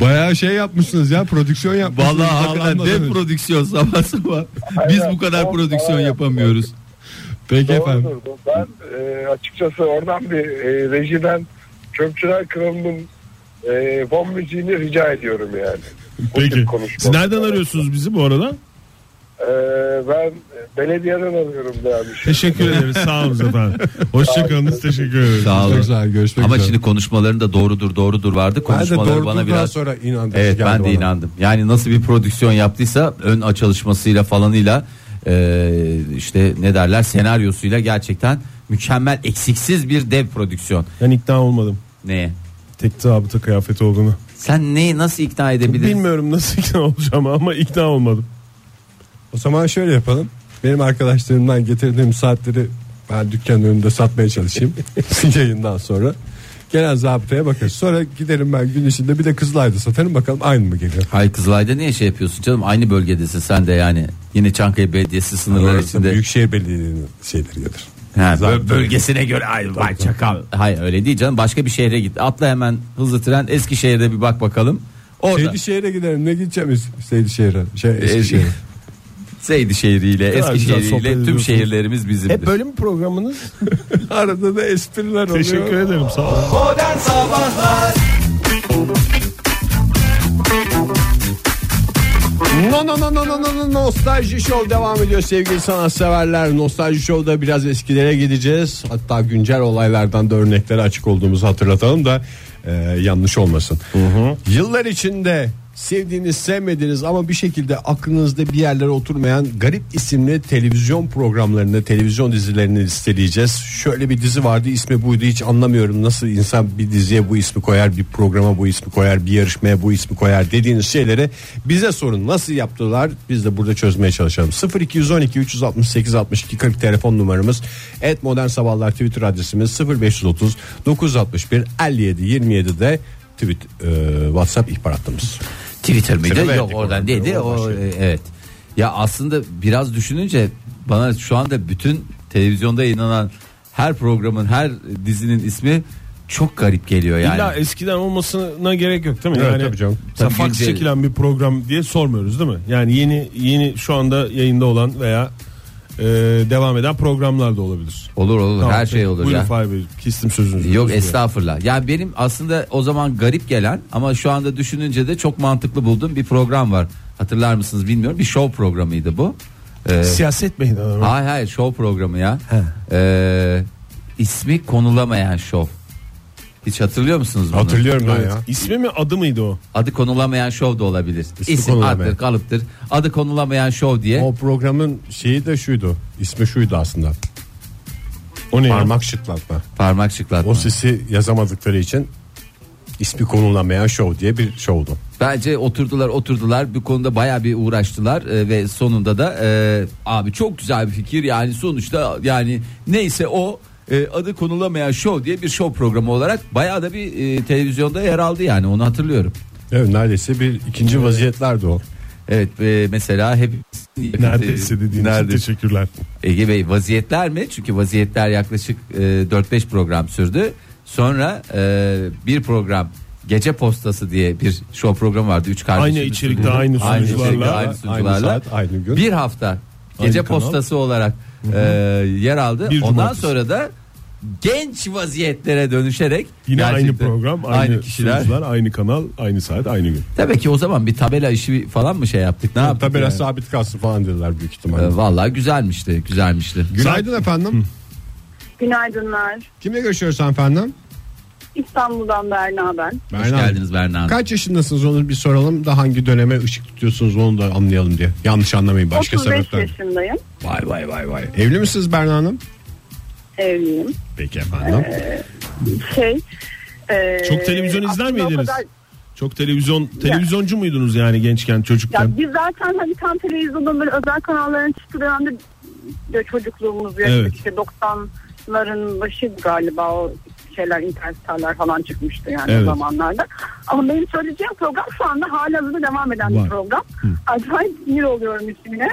[SPEAKER 7] Bayağı şey yapmışsınız ya prodüksiyon yapmışsınız.
[SPEAKER 6] Vallahi hakikaten
[SPEAKER 7] Bağlanmadan
[SPEAKER 6] dev
[SPEAKER 7] önce.
[SPEAKER 6] prodüksiyon sabah sabah. Biz bu kadar
[SPEAKER 8] Aynen.
[SPEAKER 6] prodüksiyon
[SPEAKER 8] Aynen.
[SPEAKER 6] yapamıyoruz.
[SPEAKER 7] Peki efendim.
[SPEAKER 8] Doğrudur. Ben e, açıkçası oradan bir e, rejiden çöpçüler kralının e, fon müziğini rica ediyorum yani. Bu tip
[SPEAKER 5] Peki.
[SPEAKER 8] konuşma.
[SPEAKER 5] Siz nereden arıyorsunuz bizi bu arada?
[SPEAKER 8] E, ben belediyeden arıyorum dermiş.
[SPEAKER 5] Teşekkür ederiz. Sağ olun efendim. Hoşçakalınız. Teşekkür ederiz.
[SPEAKER 4] Sağ
[SPEAKER 7] Çok
[SPEAKER 4] olun.
[SPEAKER 7] güzel görüşmek
[SPEAKER 4] Ama
[SPEAKER 7] üzere.
[SPEAKER 4] şimdi konuşmaların da doğrudur doğrudur vardı.
[SPEAKER 3] Ben de
[SPEAKER 4] Konuşmaları bana
[SPEAKER 3] doğrultudan
[SPEAKER 4] biraz
[SPEAKER 3] sonra inandım.
[SPEAKER 4] Evet
[SPEAKER 3] geldi
[SPEAKER 4] ben de
[SPEAKER 3] bana.
[SPEAKER 4] inandım. Yani nasıl bir prodüksiyon yaptıysa ön açılışmasıyla falanıyla e, işte ne derler senaryosuyla gerçekten mükemmel eksiksiz bir dev prodüksiyon.
[SPEAKER 5] Ben ikna olmadım.
[SPEAKER 4] Neye?
[SPEAKER 5] Tek zabıta kıyafeti olduğunu.
[SPEAKER 4] Sen neyi nasıl ikna edebilirsin?
[SPEAKER 5] Bilmiyorum nasıl ikna olacağım ama ikna olmadım.
[SPEAKER 3] O zaman şöyle yapalım. Benim arkadaşlarımdan getirdiğim saatleri ben dükkanın önünde satmaya çalışayım. <laughs> Yayından sonra. Gelen zabıtaya bakarız. Sonra giderim ben gün içinde bir de Kızılay'da satarım bakalım aynı mı geliyor.
[SPEAKER 4] Hay Kızılay'da niye şey yapıyorsun canım? Aynı bölgedesin sen de yani. Yine Çankaya Belediyesi sınırları
[SPEAKER 3] Orası
[SPEAKER 4] içinde.
[SPEAKER 3] Büyükşehir Belediye'nin şeyleri gelir.
[SPEAKER 4] Ha,
[SPEAKER 3] Zaten-
[SPEAKER 4] bö- bölgesine göre ay vay çakal. Hayır öyle değil canım. Başka bir şehre git. Atla hemen hızlı tren Eskişehir'de bir bak bakalım. Orada
[SPEAKER 5] Şey
[SPEAKER 3] Seydişehir'e giderim. Ne gideceğim Es- Seydişehir'e? Şey, Eskişehir'e.
[SPEAKER 4] Seydişehir'iyle,
[SPEAKER 5] kadar güzel sohbet
[SPEAKER 4] Eskişehir'iyle tüm
[SPEAKER 5] ediyorsunuz.
[SPEAKER 4] şehirlerimiz bizimdir.
[SPEAKER 5] böyle mi programınız?
[SPEAKER 3] Arada da espriler oluyor.
[SPEAKER 5] Teşekkür ederim. Sağ olun.
[SPEAKER 2] Modern Sabahlar
[SPEAKER 3] No no no no no no no Nostalji Show devam ediyor sevgili sanatseverler. Nostalji Show'da biraz eskilere gideceğiz. Hatta güncel olaylardan da örneklere açık olduğumuzu hatırlatalım da e, yanlış olmasın. Yıllar içinde sevdiğiniz sevmediğiniz ama bir şekilde aklınızda bir yerlere oturmayan garip isimli televizyon programlarını televizyon dizilerini listeleyeceğiz. Şöyle bir dizi vardı ismi buydu hiç anlamıyorum nasıl insan bir diziye bu ismi koyar bir programa bu ismi koyar bir yarışmaya bu ismi koyar dediğiniz şeyleri bize sorun nasıl yaptılar biz de burada çözmeye çalışalım 0212 368 62 40 telefon numaramız et modern sabahlar twitter adresimiz 0530 961 57 27 de tweet e, whatsapp ihbar hattımız
[SPEAKER 4] Twitter mıydı?
[SPEAKER 3] Twitter'a
[SPEAKER 4] Yok
[SPEAKER 3] verdik
[SPEAKER 4] oradan
[SPEAKER 3] onu.
[SPEAKER 4] değildi.
[SPEAKER 3] Oradan
[SPEAKER 4] O,
[SPEAKER 3] şey.
[SPEAKER 4] e, evet. Ya aslında biraz düşününce bana şu anda bütün televizyonda yayınlanan her programın her dizinin ismi çok garip geliyor yani.
[SPEAKER 5] İlla eskiden olmasına gerek yok değil mi?
[SPEAKER 3] Evet, tabii canım.
[SPEAKER 5] Mesela
[SPEAKER 4] Tabii
[SPEAKER 5] fax
[SPEAKER 4] güncel-
[SPEAKER 5] çekilen bir program diye sormuyoruz değil mi? Yani yeni yeni şu anda yayında olan veya e, devam eden programlar da olabilir.
[SPEAKER 4] Olur olur
[SPEAKER 5] Tamam,
[SPEAKER 4] her şey
[SPEAKER 5] peki.
[SPEAKER 4] olur
[SPEAKER 5] Buyurun
[SPEAKER 4] ya.
[SPEAKER 5] Fahir Bey, kestim sözünüzü.
[SPEAKER 4] Yok
[SPEAKER 5] Buyurun.
[SPEAKER 4] estağfurullah. Ya benim aslında o zaman garip gelen ama şu anda düşününce de çok mantıklı bulduğum bir program var. Hatırlar mısınız bilmiyorum. Bir show programıydı bu. Ee,
[SPEAKER 5] Siyaset meydanı. mı?
[SPEAKER 4] Hayır hayır şov programı ya. Ee, ismi konulamayan şov. Hiç hatırlıyor musunuz bunu?
[SPEAKER 3] hatırlıyorum ben
[SPEAKER 5] Evet.
[SPEAKER 3] ya
[SPEAKER 5] İsmi mi adı mıydı o?
[SPEAKER 4] Adı konulamayan şov da olabilir.
[SPEAKER 3] İsmi
[SPEAKER 4] İsim
[SPEAKER 3] konulamayan.
[SPEAKER 4] addır kalıptır. Adı konulamayan şov diye.
[SPEAKER 3] O programın şeyi de şuydu. ismi şuydu aslında.
[SPEAKER 5] O ne? ya?
[SPEAKER 3] Parmak şıtlatma.
[SPEAKER 4] Parmak şıklatma.
[SPEAKER 3] O sesi yazamadıkları için ismi konulamayan show diye bir şovdu.
[SPEAKER 4] Bence oturdular oturdular bu konuda baya bir uğraştılar e, ve sonunda da e, abi çok güzel bir fikir yani sonuçta yani neyse o e, adı konulamayan şov diye bir şov programı olarak baya da bir e, televizyonda yer aldı yani onu hatırlıyorum.
[SPEAKER 3] Evet neredeyse bir ikinci vaziyetlerdi o.
[SPEAKER 4] Evet e, mesela hep
[SPEAKER 5] Neredeyse dediğiniz için
[SPEAKER 4] Neredeyse.
[SPEAKER 5] teşekkürler.
[SPEAKER 4] Ege Bey vaziyetler mi? Çünkü vaziyetler yaklaşık e, 4-5 program sürdü. Sonra e, bir program gece postası diye bir show programı vardı. Üç kardeşimiz
[SPEAKER 5] Aynı içerikte,
[SPEAKER 4] sunuyordu.
[SPEAKER 5] aynı
[SPEAKER 4] aynı
[SPEAKER 5] sunucularla,
[SPEAKER 4] içerikte, aynı
[SPEAKER 5] aynı
[SPEAKER 4] sunucularla.
[SPEAKER 3] saat, aynı gün.
[SPEAKER 4] Bir hafta gece
[SPEAKER 5] kanal.
[SPEAKER 4] postası olarak e, yer aldı.
[SPEAKER 5] Bir
[SPEAKER 4] Ondan
[SPEAKER 5] cumartesi.
[SPEAKER 4] sonra da genç vaziyetlere dönüşerek
[SPEAKER 5] Yine aynı
[SPEAKER 4] gerçekten
[SPEAKER 5] program, aynı, kişiler, aynı kanal, aynı saat, aynı gün.
[SPEAKER 4] Tabii ki o zaman bir tabela işi falan mı şey yaptık? Ne yaptık?
[SPEAKER 3] Tabela
[SPEAKER 4] yani?
[SPEAKER 3] sabit kalsın falan dediler büyük ihtimalle.
[SPEAKER 4] Ee, Vallahi güzelmişti, güzelmişti.
[SPEAKER 7] Günaydın efendim.
[SPEAKER 9] Günaydınlar.
[SPEAKER 7] Kimle görüşüyoruz efendim?
[SPEAKER 9] İstanbul'dan Berna ben.
[SPEAKER 4] Hoş geldiniz Berna Hanım.
[SPEAKER 7] Kaç yaşındasınız onu bir soralım da hangi döneme ışık tutuyorsunuz onu da anlayalım diye. Yanlış anlamayın başka
[SPEAKER 9] 35
[SPEAKER 7] sebepler.
[SPEAKER 9] yaşındayım.
[SPEAKER 7] Vay vay vay vay. Evli misiniz Berna Hanım?
[SPEAKER 9] Evliyim.
[SPEAKER 7] Peki efendim.
[SPEAKER 9] Şey, e,
[SPEAKER 5] Çok televizyon izler
[SPEAKER 9] aslında o
[SPEAKER 5] miydiniz?
[SPEAKER 9] kadar-
[SPEAKER 5] Çok televizyon televizyoncu muydunuz yani gençken çocukken?
[SPEAKER 9] ya biz zaten hani tam televizyondan böyle özel kanalların çıktığı dönemde de çocukluğumuz yaşadık.
[SPEAKER 5] Evet.
[SPEAKER 9] İşte 90'ların başı galiba o şeyler internet siteler falan çıkmıştı yani
[SPEAKER 5] Evet.
[SPEAKER 9] o zamanlarda. Ama benim söyleyeceğim program şu anda hala devam eden
[SPEAKER 5] Var.
[SPEAKER 9] bir program. Acayip sinir oluyorum ismine.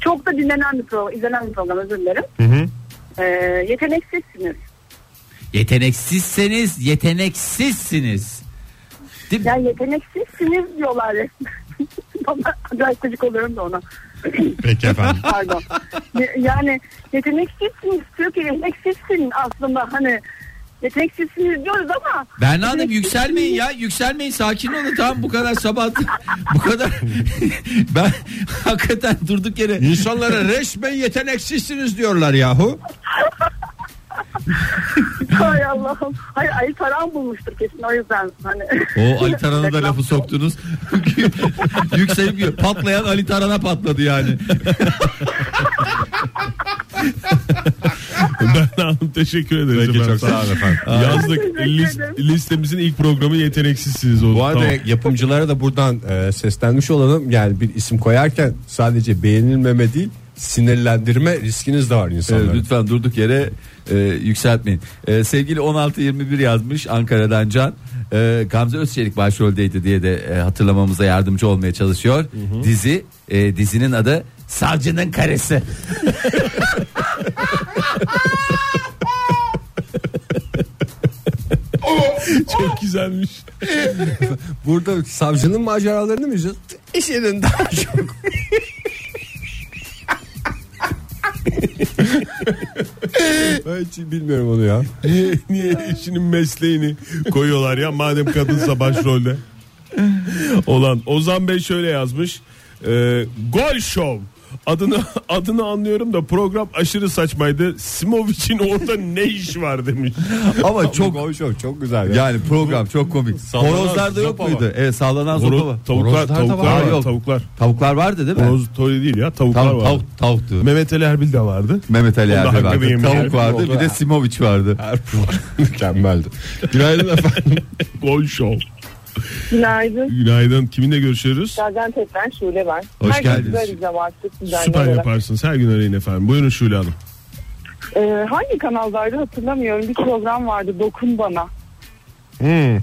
[SPEAKER 9] Çok da dinlenen bir program, izlenen bir program özür dilerim. E, yeteneksizsiniz.
[SPEAKER 4] Yeteneksizseniz yeteneksizsiniz. Değil mi?
[SPEAKER 9] Ya yeteneksizsiniz diyorlar <laughs> resmen. Bana acayip gıcık oluyorum da ona.
[SPEAKER 7] Peki efendim.
[SPEAKER 9] <laughs> Pardon. Ye- yani yeteneksizsiniz diyor ki yeteneksizsin aslında hani yeteneksizsiniz diyoruz
[SPEAKER 4] <laughs>
[SPEAKER 9] ama
[SPEAKER 4] Berna Hanım yükselmeyin ya yükselmeyin sakin olun tamam bu kadar sabah <laughs> bu kadar <laughs> ben hakikaten durduk yere
[SPEAKER 3] İnsanlara resmen yeteneksizsiniz diyorlar yahu.
[SPEAKER 9] hay Allah'ım. Hay Ali Taran bulmuştur kesin o yüzden hani.
[SPEAKER 4] o Ali Taran'a da lafı soktunuz <laughs> yükselip patlayan Ali Taran'a patladı yani
[SPEAKER 5] Berna Hanım teşekkür ederiz.
[SPEAKER 7] Peki
[SPEAKER 5] efendim.
[SPEAKER 7] çok sağ olun efendim.
[SPEAKER 5] Yazdık
[SPEAKER 9] <laughs> Teşekkür
[SPEAKER 5] list-
[SPEAKER 9] ederim.
[SPEAKER 5] listemizin ilk programı yeteneksizsiniz oldu.
[SPEAKER 3] Bu arada
[SPEAKER 5] Tamam.
[SPEAKER 3] yapımcılara da buradan e, seslenmiş olalım. Yani bir isim koyarken sadece beğenilmeme değil sinirlendirme riskiniz de var
[SPEAKER 4] Ee,
[SPEAKER 3] insanlara.
[SPEAKER 4] Lütfen durduk yere e, yükseltmeyin. E, sevgili 1621 yazmış Ankara'dan Can. E, Gamze Özçelik başroldeydi diye de e, hatırlamamıza yardımcı olmaya çalışıyor. Dizi e, dizinin adı Savcının Karısı.
[SPEAKER 5] Çok güzelmiş.
[SPEAKER 3] Burada savcının maceralarını mı izliyoruz? İş yerinden daha çok. ben hiç bilmiyorum onu ya.
[SPEAKER 5] niye, <laughs> niye işinin mesleğini koyuyorlar ya madem kadınsa başrolde. Olan Ozan Bey şöyle yazmış. Ee, Gol Show adını <laughs> adını anlıyorum da program aşırı saçmaydı. Simovic'in orada ne iş var
[SPEAKER 4] <laughs>
[SPEAKER 5] demiş.
[SPEAKER 4] Ama çok
[SPEAKER 3] Çok, çok güzel. ya.
[SPEAKER 4] yani program çok komik. Horozlar da yok
[SPEAKER 3] zopa var.
[SPEAKER 4] muydu? Evet sallanan zopa var.
[SPEAKER 5] Horoz, tavuklar,
[SPEAKER 4] Horozlar da
[SPEAKER 5] tavuklar,
[SPEAKER 4] var.
[SPEAKER 5] var,
[SPEAKER 4] Yok,
[SPEAKER 5] tavuklar.
[SPEAKER 4] Tavuklar vardı değil mi?
[SPEAKER 5] Horoz toyu değil ya, tavuklar
[SPEAKER 4] Tam
[SPEAKER 5] var.
[SPEAKER 4] tavuk tavuktu.
[SPEAKER 5] Mehmet Ali Erbil de vardı.
[SPEAKER 4] Mehmet Ali
[SPEAKER 5] Onda
[SPEAKER 4] Erbil
[SPEAKER 5] hakkını
[SPEAKER 4] vardı.
[SPEAKER 5] yemeyelim.
[SPEAKER 4] Tavuk vardı. Bir de Simovic vardı.
[SPEAKER 5] <laughs>
[SPEAKER 3] Mükemmeldi. Günaydın efendim.
[SPEAKER 5] Gol Show.
[SPEAKER 9] Günaydın.
[SPEAKER 5] Günaydın. Kiminle görüşüyoruz?
[SPEAKER 9] tekrar Şule ben.
[SPEAKER 4] Hoş geldiniz.
[SPEAKER 5] Süper yaparsınız. Her gün arayın efendim. Buyurun Şule Hanım.
[SPEAKER 9] Ee, hangi kanaldaydı hatırlamıyorum. Bir program vardı Dokun Bana. Ee,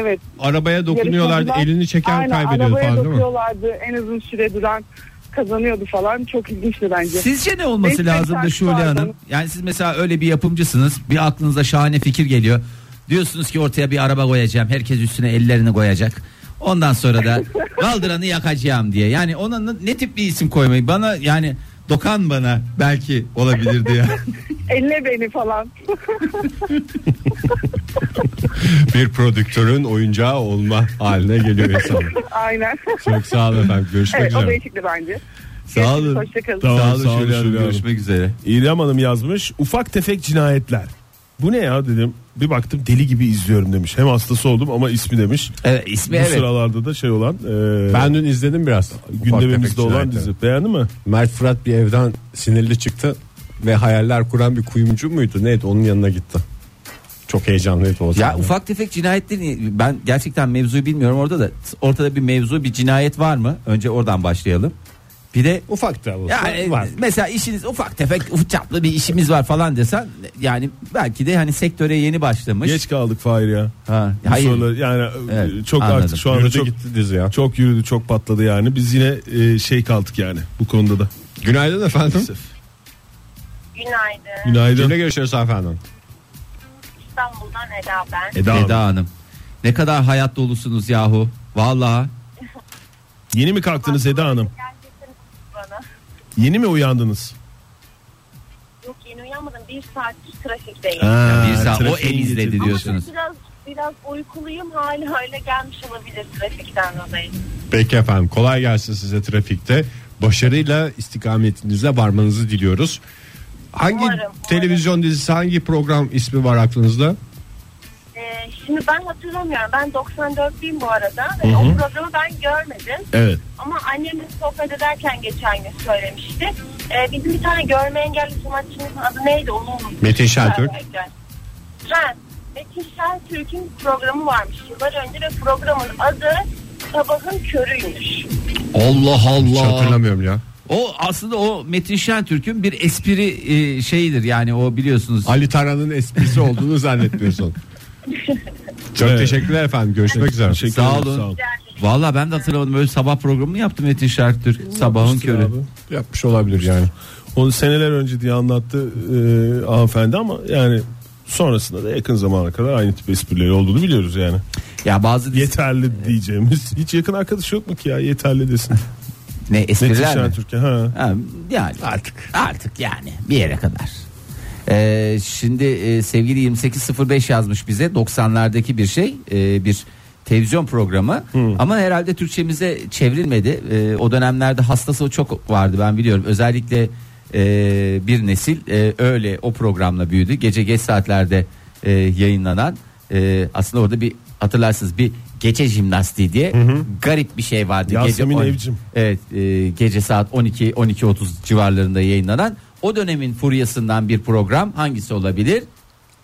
[SPEAKER 9] evet.
[SPEAKER 7] Arabaya dokunuyorlardı
[SPEAKER 9] Yarışmacılar-
[SPEAKER 7] elini çeken
[SPEAKER 9] Aynen,
[SPEAKER 7] kaybediyordu
[SPEAKER 9] arabaya
[SPEAKER 7] falan değil mi?
[SPEAKER 9] dokuyorlardı. En uzun süre duran kazanıyordu falan. Çok ilginçti bence.
[SPEAKER 4] Sizce ne olması
[SPEAKER 9] Beş
[SPEAKER 4] lazım da
[SPEAKER 9] beş
[SPEAKER 4] Şule
[SPEAKER 9] tane
[SPEAKER 4] Hanım?
[SPEAKER 9] pardon.
[SPEAKER 4] Yani siz mesela öyle bir yapımcısınız. Bir aklınıza şahane fikir geliyor. Diyorsunuz ki ortaya bir araba koyacağım. Herkes üstüne ellerini koyacak. Ondan sonra <laughs> da kaldıranı yakacağım diye. Yani ona n- ne tip bir isim koymayı bana yani dokan bana belki olabilirdi ya.
[SPEAKER 9] Elle beni falan. <laughs>
[SPEAKER 3] bir prodüktörün oyuncağı olma haline geliyor insanlar.
[SPEAKER 9] Aynen.
[SPEAKER 3] Çok sağ olun efendim. Görüşmek
[SPEAKER 9] evet, o
[SPEAKER 3] üzere.
[SPEAKER 9] değişikti bence.
[SPEAKER 4] Sağ olun.
[SPEAKER 9] Hoşçakalın.
[SPEAKER 5] Tamam,
[SPEAKER 4] <laughs> Sağ olun
[SPEAKER 5] sağ olun
[SPEAKER 4] Şule Hanım.
[SPEAKER 5] Şule Hanım.
[SPEAKER 4] Görüşmek üzere.
[SPEAKER 5] İrem Hanım yazmış ufak tefek cinayetler. Bu ne ya dedim. Bir baktım deli gibi izliyorum demiş. Hem hastası oldum ama ismi demiş.
[SPEAKER 4] Evet ismi
[SPEAKER 5] Bu
[SPEAKER 4] evet.
[SPEAKER 5] sıralarda da şey olan e,
[SPEAKER 3] Ben dün izledim biraz. Ufak
[SPEAKER 5] gündemimizde
[SPEAKER 3] tefek
[SPEAKER 5] olan
[SPEAKER 3] cinayetleri.
[SPEAKER 5] dizi. Beğendi mi?
[SPEAKER 3] Mert Fırat bir evden sinirli çıktı ve hayaller kuran bir kuyumcu muydu? Neydi onun yanına gitti. Çok heyecanlıydı o
[SPEAKER 4] Ya
[SPEAKER 3] zaman.
[SPEAKER 4] ufak tefek cinayetlerin ben gerçekten mevzuyu bilmiyorum orada da ortada bir mevzu bir cinayet var mı? Önce oradan başlayalım. Bir de
[SPEAKER 3] ufak da olsa
[SPEAKER 4] Yani
[SPEAKER 3] var.
[SPEAKER 4] e, mesela işiniz ufak tefek ufak çaplı bir işimiz var falan desen yani belki de hani sektöre yeni başlamış.
[SPEAKER 5] Geç kaldık Fahir ya.
[SPEAKER 4] Ha,
[SPEAKER 5] Bu
[SPEAKER 4] hayır.
[SPEAKER 5] sorular- yani e,
[SPEAKER 4] Evet,
[SPEAKER 5] çok
[SPEAKER 4] anladım.
[SPEAKER 5] artık şu anda
[SPEAKER 3] Yürüdü
[SPEAKER 5] çok
[SPEAKER 3] gitti dizi ya.
[SPEAKER 5] çok yürüdü çok patladı yani. Biz yine e, şey kaldık yani bu konuda da.
[SPEAKER 3] Günaydın efendim.
[SPEAKER 10] Günaydın.
[SPEAKER 5] Günaydın.
[SPEAKER 3] Kimle görüşüyoruz efendim?
[SPEAKER 10] İstanbul'dan Eda ben.
[SPEAKER 5] Eda Hanım.
[SPEAKER 4] Eda Hanım. Ne kadar hayat dolusunuz yahu. Vallahi
[SPEAKER 5] Yeni mi kalktınız Eda Hanım?
[SPEAKER 10] Gerçekten bana.
[SPEAKER 5] Yeni mi uyandınız?
[SPEAKER 10] Yok yeni uyanmadım. bir saat trafikteyim.
[SPEAKER 4] Ha, bir saat
[SPEAKER 6] trafiğe
[SPEAKER 4] o el izledi
[SPEAKER 6] getirdiniz.
[SPEAKER 4] diyorsunuz.
[SPEAKER 10] Biraz biraz uykuluyum hala öyle gelmiş olabilir trafikten dolayı.
[SPEAKER 7] Peki efendim kolay gelsin size trafikte. Başarıyla istikametinize varmanızı diliyoruz. Hangi
[SPEAKER 10] Umarım, umarım.
[SPEAKER 7] televizyon dizisi hangi program ismi var aklınızda?
[SPEAKER 10] Ee, şimdi ben hatırlamıyorum. Ben 94'lüyüm bu arada. Ve
[SPEAKER 7] Hı hı.
[SPEAKER 10] o programı ben görmedim.
[SPEAKER 7] Evet.
[SPEAKER 10] Ama annemle sohbet ederken geçen gün söylemişti. Ee, bizim bir tane görme engelli sanatçımızın adı neydi onu unuttum.
[SPEAKER 7] Metin Şentürk.
[SPEAKER 10] Ha, Metin Şentürk'ün programı varmış yıllar önce ve programın adı Sabahın Körü'ymüş.
[SPEAKER 4] Allah
[SPEAKER 7] Hiç hatırlamıyorum ya.
[SPEAKER 4] O aslında o Metin Şentürk'ün bir espri e, şeyidir yani o biliyorsunuz.
[SPEAKER 7] Ali Tarhan'ın esprisi olduğunu zannetmiyorsun. Çok
[SPEAKER 5] Evet.
[SPEAKER 7] teşekkürler efendim. Görüşmek üzere.
[SPEAKER 5] Teşekkür
[SPEAKER 4] Sağ
[SPEAKER 5] ederim,
[SPEAKER 4] olun.
[SPEAKER 5] sağ olun.
[SPEAKER 4] Vallahi ben de hatırlamadım öyle sabah programı mı yaptı Metin Şentürk sabahın körü.
[SPEAKER 5] Abi.
[SPEAKER 7] Yapmış olabilir yani.
[SPEAKER 5] Onu seneler önce diye anlattı e, hanımefendi ama yani sonrasında da yakın zamana kadar aynı tip esprileri olduğunu biliyoruz yani.
[SPEAKER 4] Ya bazı dizi-
[SPEAKER 5] Yeterli diyeceğimiz. Hiç yakın arkadaş yok mu ki ya yeterli desin.
[SPEAKER 4] ne
[SPEAKER 5] Metin
[SPEAKER 4] espriler mi?
[SPEAKER 5] Şentürk'e ha.
[SPEAKER 4] Ha, yani artık artık yani bir yere kadar. Ee, şimdi e, sevgili 2805 yazmış bize 90'lardaki bir şey e, bir televizyon programı ama herhalde Türkçemize çevrilmedi. E, o dönemlerde hastası çok vardı ben biliyorum. Özellikle e, bir nesil e, öyle o programla büyüdü. Gece geç saatlerde e, yayınlanan e, aslında orada bir hatırlarsınız bir gece jimnastiği diye garip bir şey vardı.
[SPEAKER 5] Yasemin
[SPEAKER 4] gece on-
[SPEAKER 5] Evcim.
[SPEAKER 4] Evet e, gece saat 12 12.30 civarlarında yayınlanan o dönemin furyasından bir program hangisi olabilir?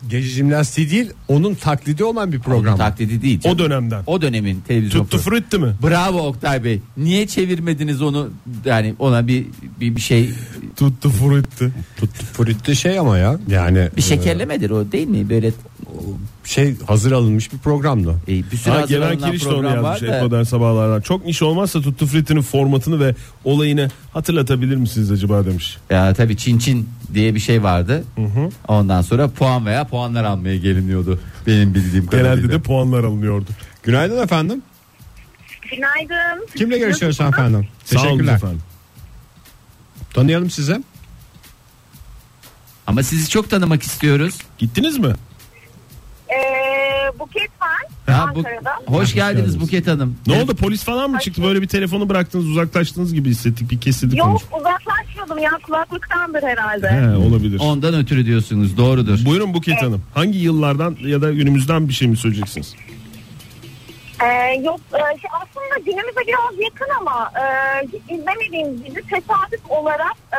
[SPEAKER 7] Gece jimnastiği değil onun taklidi olan bir
[SPEAKER 4] Onun
[SPEAKER 7] program.
[SPEAKER 4] taklidi değil.
[SPEAKER 5] O dönemden.
[SPEAKER 4] O dönemin televizyon
[SPEAKER 5] Tuttu
[SPEAKER 4] programı.
[SPEAKER 5] frutti mi?
[SPEAKER 4] Bravo Oktay Bey. Niye çevirmediniz onu? Yani ona bir bir, bir şey
[SPEAKER 5] Tuttu frutti.
[SPEAKER 7] Tuttu Fruit'te şey ama ya yani
[SPEAKER 4] bir şekerlemedir o değil mi? Böyle
[SPEAKER 7] şey hazır alınmış bir programdı.
[SPEAKER 4] e, bir sürü
[SPEAKER 5] Ha,
[SPEAKER 4] hazırlanan
[SPEAKER 5] genel kiriş de onu
[SPEAKER 4] program var
[SPEAKER 5] yazmış
[SPEAKER 4] da.
[SPEAKER 5] Hep modern sabahlardan. Çok niş olmazsa Tuttu Fritti'nin formatını ve olayını hatırlatabilir misiniz acaba demiş.
[SPEAKER 4] Ya tabii Çin Çin diye bir şey vardı. Ondan sonra puan veya puanlar almaya geliniyordu. Benim bildiğim kadarıyla.
[SPEAKER 5] Genelde de puanlar alınıyordu.
[SPEAKER 7] Günaydın efendim.
[SPEAKER 10] Günaydın.
[SPEAKER 7] Kimle görüşüyoruz
[SPEAKER 10] Nasılsınız?
[SPEAKER 7] efendim?
[SPEAKER 5] Sağ olun
[SPEAKER 7] Teşekkürler.
[SPEAKER 5] efendim.
[SPEAKER 7] Tanıyalım size.
[SPEAKER 4] Ama sizi çok tanımak istiyoruz.
[SPEAKER 5] Gittiniz mi?
[SPEAKER 10] Ee, Buket var
[SPEAKER 4] Ya bu,
[SPEAKER 10] Ankara'da.
[SPEAKER 4] hoş geldiniz Buket Hanım.
[SPEAKER 5] Ne oldu polis falan mı çıktı? Böyle bir telefonu bıraktınız uzaklaştınız gibi hissettik bir kesildi
[SPEAKER 10] Yok
[SPEAKER 5] konuşma.
[SPEAKER 10] uzaklaşmadım ya kulaklıktandır herhalde.
[SPEAKER 5] He, olabilir.
[SPEAKER 4] Ondan ötürü diyorsunuz doğrudur.
[SPEAKER 5] Buyurun Buket Hanım. Hangi yıllardan ya da günümüzden bir şey mi söyleyeceksiniz?
[SPEAKER 10] Ee, yok e, şey aslında günümüze biraz yakın ama e, hiç izlemediğim dizi tesadüf olarak e,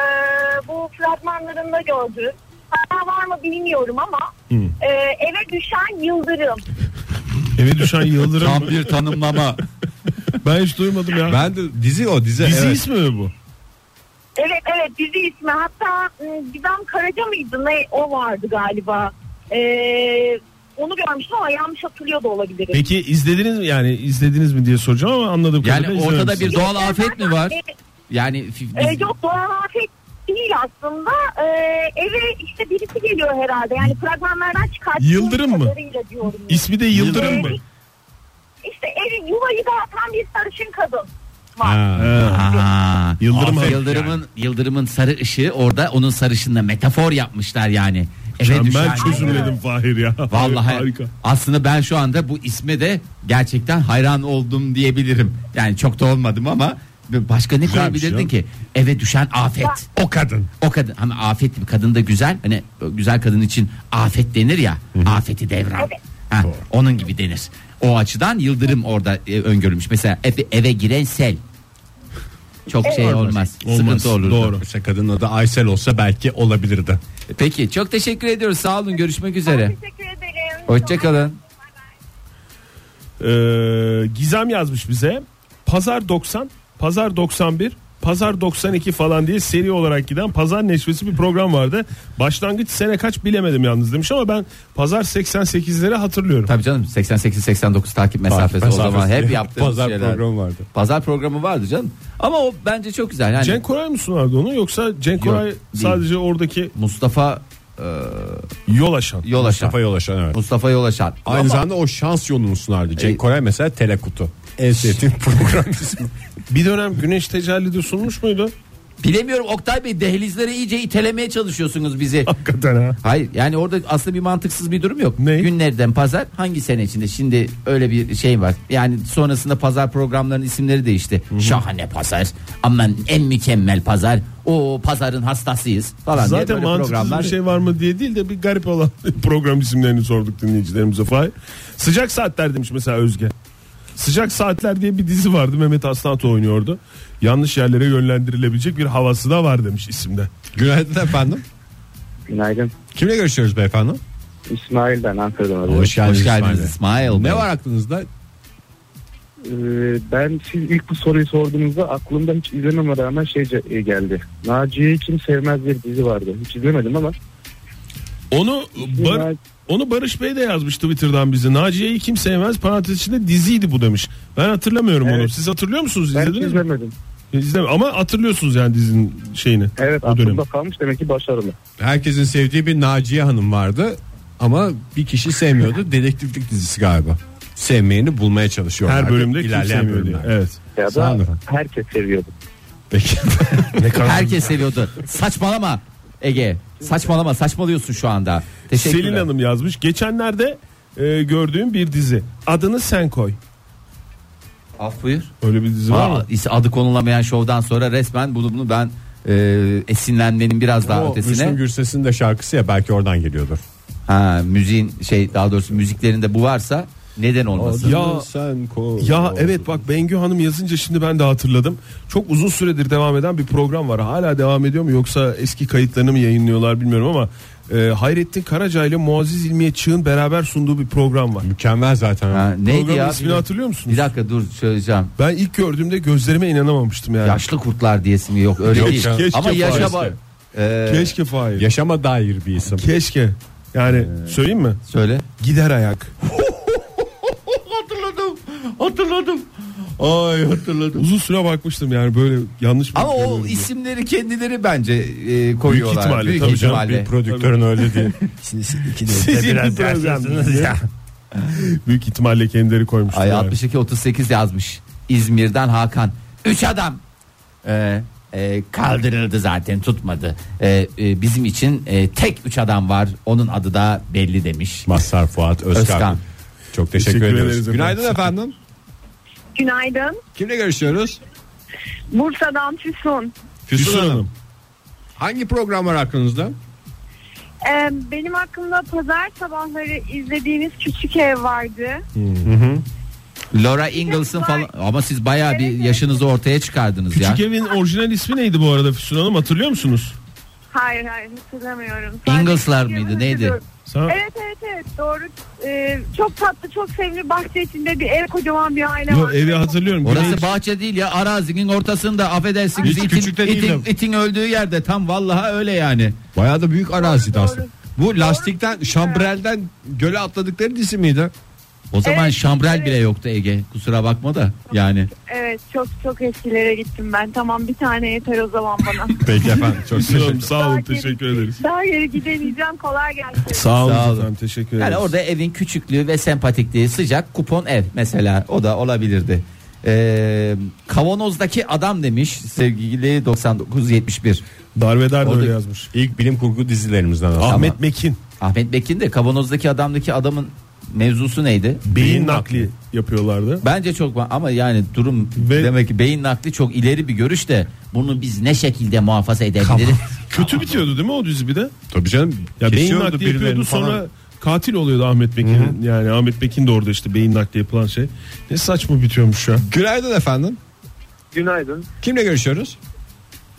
[SPEAKER 10] bu fragmanlarında gördüm. Hatta var mı bilmiyorum ama e, eve düşen yıldırım.
[SPEAKER 5] Eve düşen yıldırım mı?
[SPEAKER 4] bir tanımlama.
[SPEAKER 5] Ben hiç duymadım ya.
[SPEAKER 7] Ben de dizi o dizi.
[SPEAKER 5] Dizi
[SPEAKER 7] evet.
[SPEAKER 5] ismi mi bu?
[SPEAKER 10] Evet evet dizi ismi hatta m, Gizem Karaca mıydı ne o vardı galiba. E, onu görmüştüm ama yanlış hatırlıyor da olabilirim.
[SPEAKER 5] Peki izlediniz mi? Yani izlediniz mi diye soracağım ama anladım.
[SPEAKER 4] yani ortada bir doğal afet mi var?
[SPEAKER 10] E,
[SPEAKER 4] Yani fi-
[SPEAKER 10] Ee,
[SPEAKER 4] biz-
[SPEAKER 10] yok doğal afet değil aslında. Ee, eve işte birisi geliyor herhalde. Yani fragmanlardan çıkarttığım
[SPEAKER 5] Yıldırım mı?
[SPEAKER 10] kadarıyla diyorum. ya.
[SPEAKER 5] İsmi de Yıldırım mı?
[SPEAKER 10] İşte evi yuvayı dağıtan bir sarışın kadın.
[SPEAKER 5] Ha.
[SPEAKER 4] Aha.
[SPEAKER 5] Yıldırım
[SPEAKER 4] Afet
[SPEAKER 5] Hanım
[SPEAKER 4] Yıldırım'ın Yıldırım'ın sarı ışığı orada onun sarışınla metafor yapmışlar yani. Eve düşen-
[SPEAKER 5] Ben çözümledim Fahir ya.
[SPEAKER 4] Vallahi
[SPEAKER 5] Harika.
[SPEAKER 4] aslında ben şu anda bu isme de gerçekten hayran oldum diyebilirim. Yani çok da olmadım ama başka ne koyabilirdin
[SPEAKER 5] canım.
[SPEAKER 4] ki? Eve düşen afet.
[SPEAKER 7] O kadın.
[SPEAKER 4] O kadın hani afet bir kadın da güzel. Hani güzel kadın için afet denir ya. Afeti devran. Ha, onun gibi denir. O açıdan yıldırım orada e, öngörülmüş. Mesela eve, eve giren sel. Çok şey olmaz. Sıkıntı olur.
[SPEAKER 7] Doğru. Mesela kadının adı Aysel olsa belki olabilirdi.
[SPEAKER 4] Peki çok teşekkür ediyoruz. Sağ olun. Görüşmek üzere.
[SPEAKER 10] Teşekkür ederim.
[SPEAKER 4] Hoşçakalın.
[SPEAKER 5] Ee, Gizem yazmış bize. Pazar 90, Pazar 91, Pazar 92 falan diye seri olarak giden Pazar Neşvesi bir program vardı. Başlangıç sene kaç bilemedim yalnız demiş ama ben Pazar 88'leri hatırlıyorum.
[SPEAKER 4] Tabii canım 88-89 takip mesafesi, o zaman hep yaptığımız
[SPEAKER 7] Pazar
[SPEAKER 4] şeyler.
[SPEAKER 7] programı vardı.
[SPEAKER 4] Pazar programı vardı canım. Ama o bence çok güzel. Yani
[SPEAKER 5] Cenk Koray mı sunardı onu yoksa Cenk
[SPEAKER 4] Hani Yok,
[SPEAKER 5] Koray
[SPEAKER 4] değil.
[SPEAKER 5] sadece oradaki
[SPEAKER 4] Mustafa
[SPEAKER 5] yol aşan.
[SPEAKER 4] Yol Aşan.
[SPEAKER 7] Kafa yolaşan evet.
[SPEAKER 4] Mustafa Yol Aşan.
[SPEAKER 7] Aynı
[SPEAKER 4] Ama-
[SPEAKER 7] zamanda o şans yolunu sunardı. Cenk
[SPEAKER 4] E-
[SPEAKER 7] Koray mesela
[SPEAKER 3] E-
[SPEAKER 7] telekutu. En sevdiğim program ismi.
[SPEAKER 5] Bir dönem Güneş Tecellidi sunmuş muydu?
[SPEAKER 4] Bilemiyorum Oktay Bey dehlizlere iyice itelemeye çalışıyorsunuz bizi.
[SPEAKER 5] Hakikaten ha.
[SPEAKER 4] Hayır yani orada aslında bir mantıksız bir durum yok. Günlerden pazar hangi sene içinde? Şimdi öyle bir şey var. Yani sonrasında pazar programlarının isimleri değişti. Şahane pazar. Aman en mükemmel pazar. O pazarın hastasıyız
[SPEAKER 3] Hani
[SPEAKER 4] falan diye
[SPEAKER 5] Zaten
[SPEAKER 4] böyle
[SPEAKER 5] mantıksız
[SPEAKER 4] programlar.
[SPEAKER 5] bir şey var mı diye değil de bir garip olan <laughs> program isimlerini sorduk dinleyicilerimize Fahir. Sıcak Saatler demiş mesela Özge. Sıcak Saatler diye bir dizi vardı Mehmet Aslanto oynuyordu. Yanlış yerlere yönlendirilebilecek bir havası da var demiş isimde.
[SPEAKER 3] Günaydın efendim.
[SPEAKER 8] Günaydın.
[SPEAKER 3] Kimle görüşüyoruz beyefendi?
[SPEAKER 8] İsmail ben Ankara'dan arıyorum.
[SPEAKER 3] Hoş geldiniz, İsmail.
[SPEAKER 4] Bey.
[SPEAKER 3] Ne var aklınızda?
[SPEAKER 8] Ee, ben siz ilk bu soruyu sorduğunuzda aklımda hiç izlememe rağmen şey ce- e, geldi. Naciye'yi kim sevmez bir dizi vardı. Hiç izlemedim ama.
[SPEAKER 5] Onu Bar- onu Barış Bey de yazmış Twitter'dan bize. Naciye'yi kim sevmez parantez içinde diziydi bu demiş. Ben hatırlamıyorum onu. Siz hatırlıyor musunuz? Ben
[SPEAKER 8] izlemedim.
[SPEAKER 5] İzleme ama hatırlıyorsunuz yani dizinin şeyini.
[SPEAKER 8] Evet
[SPEAKER 5] bu dönemi.
[SPEAKER 8] aklımda kalmış demek ki başarılı.
[SPEAKER 3] <laughs> Herkesin sevdiği bir Naciye Hanım vardı ama bir kişi sevmiyordu. Dedektiflik dizisi galiba. Sevmeyeni bulmaya çalışıyorlar.
[SPEAKER 5] Her bölümde kim sevmiyor diye. Evet.
[SPEAKER 8] Ya
[SPEAKER 3] Sağ
[SPEAKER 8] da
[SPEAKER 3] olun.
[SPEAKER 8] herkes seviyordu.
[SPEAKER 3] Peki.
[SPEAKER 4] Herkes seviyordu. Saçmalama Ege. Saçmalama saçmalıyorsun şu anda. Teşekkürler.
[SPEAKER 5] Selin Hanım yazmış. Geçenlerde e, gördüğüm bir dizi. Adını sen koy.
[SPEAKER 4] Af buyur.
[SPEAKER 5] Öyle bir dizi var
[SPEAKER 4] Aa,
[SPEAKER 5] mı?
[SPEAKER 4] is- Adı konulamayan şovdan sonra resmen bunu, bunu ben e, esinlenmenin biraz daha
[SPEAKER 3] O
[SPEAKER 4] ötesine.
[SPEAKER 3] Müslüm Gürses'in de şarkısı ya belki oradan geliyordur.
[SPEAKER 4] Ha, müziğin şey daha doğrusu müziklerinde bu varsa neden olmasın?
[SPEAKER 5] Ya-
[SPEAKER 3] sen ko.
[SPEAKER 5] Ya evet bak Bengü Hanım yazınca şimdi ben de hatırladım. Çok uzun süredir devam eden bir program var. Hala devam ediyor mu yoksa eski kayıtlarını mı yayınlıyorlar bilmiyorum ama e, Hayrettin Karaca ile Muazzez İlmiye Çığ'ın beraber sunduğu bir program var.
[SPEAKER 3] Mükemmel zaten.
[SPEAKER 4] Ha, neydi
[SPEAKER 5] Programın
[SPEAKER 4] ya?
[SPEAKER 5] ismini hatırlıyor musunuz?
[SPEAKER 4] Bir dakika dur söyleyeceğim.
[SPEAKER 5] Ben ilk gördüğümde gözlerime inanamamıştım yani.
[SPEAKER 4] Yaşlı kurtlar diyesi yok öyle
[SPEAKER 5] Yok
[SPEAKER 4] değil.
[SPEAKER 5] ya. Keşke
[SPEAKER 4] Ama yaşa
[SPEAKER 5] Paris'te.
[SPEAKER 4] bak. Ee,
[SPEAKER 5] Keşke Fahir.
[SPEAKER 3] Yaşama dair bir isim.
[SPEAKER 5] Keşke. Yani söyleyeyim mi?
[SPEAKER 4] söyle.
[SPEAKER 5] Gider ayak.
[SPEAKER 4] Hatırladım. Hatırladım.
[SPEAKER 5] Ay hatırladım. Uzun süre bakmıştım yani böyle yanlış mı
[SPEAKER 4] Ama o
[SPEAKER 5] hatırlıyorum diye.
[SPEAKER 4] isimleri kendileri bence e,
[SPEAKER 5] Büyük
[SPEAKER 4] koyuyorlar.
[SPEAKER 5] ihtimalle
[SPEAKER 4] Büyük
[SPEAKER 5] tabii
[SPEAKER 4] ihtimalle.
[SPEAKER 5] canım.
[SPEAKER 3] Bir prodüktörün öyle diye.
[SPEAKER 5] Siz biraz ya. Büyük ihtimalle kendileri koymuşlar.
[SPEAKER 4] Ay
[SPEAKER 5] yani.
[SPEAKER 4] 62 38 yazmış. İzmir'den Hakan. Üç adam. Ee, e, kaldırıldı zaten tutmadı. Ee, e, bizim için e, tek üç adam var. Onun adı da belli demiş.
[SPEAKER 3] Mazhar Fuat Özkan.
[SPEAKER 4] Özkan.
[SPEAKER 3] Çok teşekkür,
[SPEAKER 5] Teşekkür
[SPEAKER 3] ediyoruz.
[SPEAKER 5] ederiz efendim.
[SPEAKER 3] Günaydın efendim.
[SPEAKER 10] Günaydın.
[SPEAKER 3] Kimle görüşüyoruz?
[SPEAKER 10] Bursa'dan Füsun.
[SPEAKER 3] Füsun,
[SPEAKER 5] Füsun
[SPEAKER 3] Hanım.
[SPEAKER 5] Hanım.
[SPEAKER 3] Hangi program var aklınızda?
[SPEAKER 10] Ee, benim aklımda pazar sabahları izlediğiniz küçük ev vardı.
[SPEAKER 4] Laura Ingles'ın falan ama siz bayağı bir yaşınızı ortaya çıkardınız
[SPEAKER 5] Küçük
[SPEAKER 4] ya.
[SPEAKER 5] evin orijinal ismi neydi bu arada Füsun Hanım hatırlıyor musunuz?
[SPEAKER 10] Hayır hayır hatırlamıyorum.
[SPEAKER 4] Ingles'lar mıydı, neydi?
[SPEAKER 10] Hatırlıyorum.
[SPEAKER 5] Sen-
[SPEAKER 10] Evet evet evet doğru. Ee, çok tatlı çok sevimli bahçe içinde bir ev kocaman bir aile
[SPEAKER 5] Yo,
[SPEAKER 10] var.
[SPEAKER 5] evi hatırlıyorum. Güney-
[SPEAKER 4] Orası bahçe değil ya arazinin ortasında affedersiniz
[SPEAKER 3] Hiç
[SPEAKER 4] itin,
[SPEAKER 3] küçük de değil
[SPEAKER 4] itin-
[SPEAKER 3] de.
[SPEAKER 4] itin öldüğü yerde tam vallahi öyle yani.
[SPEAKER 3] Bayağı da büyük araziydi
[SPEAKER 10] Doğru,
[SPEAKER 3] aslında.
[SPEAKER 10] doğru.
[SPEAKER 3] Bu lastikten, şambrelden göle atladıkları dizi miydi?
[SPEAKER 4] O zaman
[SPEAKER 10] Evet,
[SPEAKER 4] şambrel
[SPEAKER 10] evet.
[SPEAKER 4] bile yoktu Ege. Kusura bakma da yani.
[SPEAKER 10] Evet çok çok eskilere gittim ben. Tamam bir tane yeter o zaman bana. <laughs>
[SPEAKER 3] Peki efendim. Çok
[SPEAKER 5] Füsun Hanım
[SPEAKER 3] teşekkür
[SPEAKER 5] sağ olun
[SPEAKER 10] Daha geri-
[SPEAKER 5] teşekkür ederiz.
[SPEAKER 10] Daha yeri gidemeyeceğim kolay gelsin.
[SPEAKER 5] Sağ olun,
[SPEAKER 4] Sağ olun.
[SPEAKER 5] efendim teşekkür ederiz.
[SPEAKER 4] Yani orada evin küçüklüğü ve sempatikliği sıcak kupon ev mesela o da olabilirdi. Ee, kavanozdaki adam demiş sevgili 9971.
[SPEAKER 5] Darvedar da
[SPEAKER 4] Orada-
[SPEAKER 5] öyle yazmış.
[SPEAKER 3] İlk bilim kurgu dizilerimizden aslında.
[SPEAKER 5] Ahmet Mekin
[SPEAKER 4] Ahmet Bekin de kavanozdaki adamdaki adamın mevzusu neydi?
[SPEAKER 5] beyin nakli yapıyorlardı.
[SPEAKER 4] Bence çok ma- ama yani durum
[SPEAKER 5] Ve-
[SPEAKER 4] demek ki beyin nakli çok ileri bir görüş de bunu biz ne şekilde muhafaza edebiliriz?
[SPEAKER 5] Kötü bitiyordu değil mi o dizi bir de?
[SPEAKER 3] Tabii canım.
[SPEAKER 5] Ya beyin
[SPEAKER 3] kesiyordu
[SPEAKER 5] nakli
[SPEAKER 3] birilerini
[SPEAKER 5] yapıyordu
[SPEAKER 3] falan.
[SPEAKER 5] sonra katil oluyordu Ahmet Mekin'in. Yani Ahmet Mekin de orada işte beyin nakli yapılan şey. Ne saçma bitiyormuş ya.
[SPEAKER 3] Günaydın efendim.
[SPEAKER 8] Günaydın.
[SPEAKER 3] Kimle görüşüyoruz?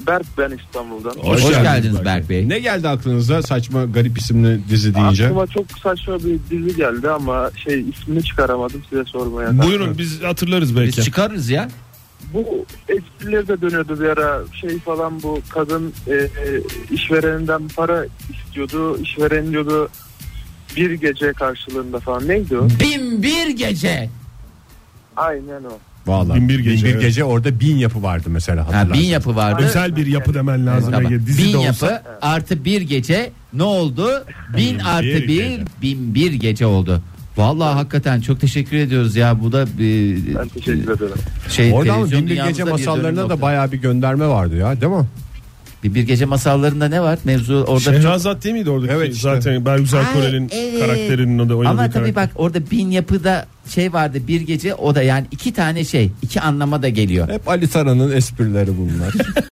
[SPEAKER 8] Berk ben İstanbul'dan.
[SPEAKER 4] Hoş,
[SPEAKER 3] Hoş
[SPEAKER 4] geldiniz,
[SPEAKER 3] geldiniz
[SPEAKER 4] Berk Bey.
[SPEAKER 3] Ne geldi aklınıza saçma garip isimli dizi deyince?
[SPEAKER 8] Aklıma çok saçma bir dizi geldi ama şey ismini çıkaramadım size sormaya.
[SPEAKER 5] Buyurun biz hatırlarız belki.
[SPEAKER 4] Biz çıkarırız ya.
[SPEAKER 8] Bu espriler de dönüyordu bir ara şey falan bu kadın e, e, işvereninden para istiyordu işveren diyordu bir gece karşılığında falan neydi o?
[SPEAKER 4] Bin bir gece.
[SPEAKER 8] Aynen o.
[SPEAKER 3] Vallahi.
[SPEAKER 5] Bin bir gece,
[SPEAKER 3] Bin bir
[SPEAKER 5] evet.
[SPEAKER 3] gece orada bin yapı vardı mesela.
[SPEAKER 4] Ha,
[SPEAKER 3] hatırlarsın.
[SPEAKER 4] bin yapı vardı.
[SPEAKER 5] Özel bir yapı demen lazım.
[SPEAKER 4] Tamam.
[SPEAKER 5] Ege. Dizi
[SPEAKER 4] bin
[SPEAKER 5] de olsa.
[SPEAKER 4] yapı artı bir gece ne oldu? Bin artı bir,
[SPEAKER 3] gece.
[SPEAKER 4] bin bir gece oldu. Vallahi hakikaten çok teşekkür ediyoruz ya bu da bir
[SPEAKER 8] Ben teşekkür ederim.
[SPEAKER 4] şey
[SPEAKER 3] Oradan
[SPEAKER 4] televizyon
[SPEAKER 3] bin bir
[SPEAKER 4] dünyamızda
[SPEAKER 3] gece
[SPEAKER 4] bir dönüm
[SPEAKER 3] masallarına da
[SPEAKER 4] nokta.
[SPEAKER 3] bayağı bir gönderme vardı ya değil mi?
[SPEAKER 4] Bir, bir gece masallarında ne var? Mevzu orada
[SPEAKER 5] Şehrazat değil miydi oradaki? şey?
[SPEAKER 4] Evet işte.
[SPEAKER 5] Zaten Bergüzar
[SPEAKER 4] Ay,
[SPEAKER 5] Korel'in
[SPEAKER 4] evet.
[SPEAKER 5] karakterinin adı oynadığı
[SPEAKER 4] Ama
[SPEAKER 5] karakter.
[SPEAKER 4] tabii bak orada bin yapıda şey vardı bir gece o da yani iki tane şey iki anlama da geliyor.
[SPEAKER 3] <laughs> Hep Ali Saran'ın esprileri bunlar.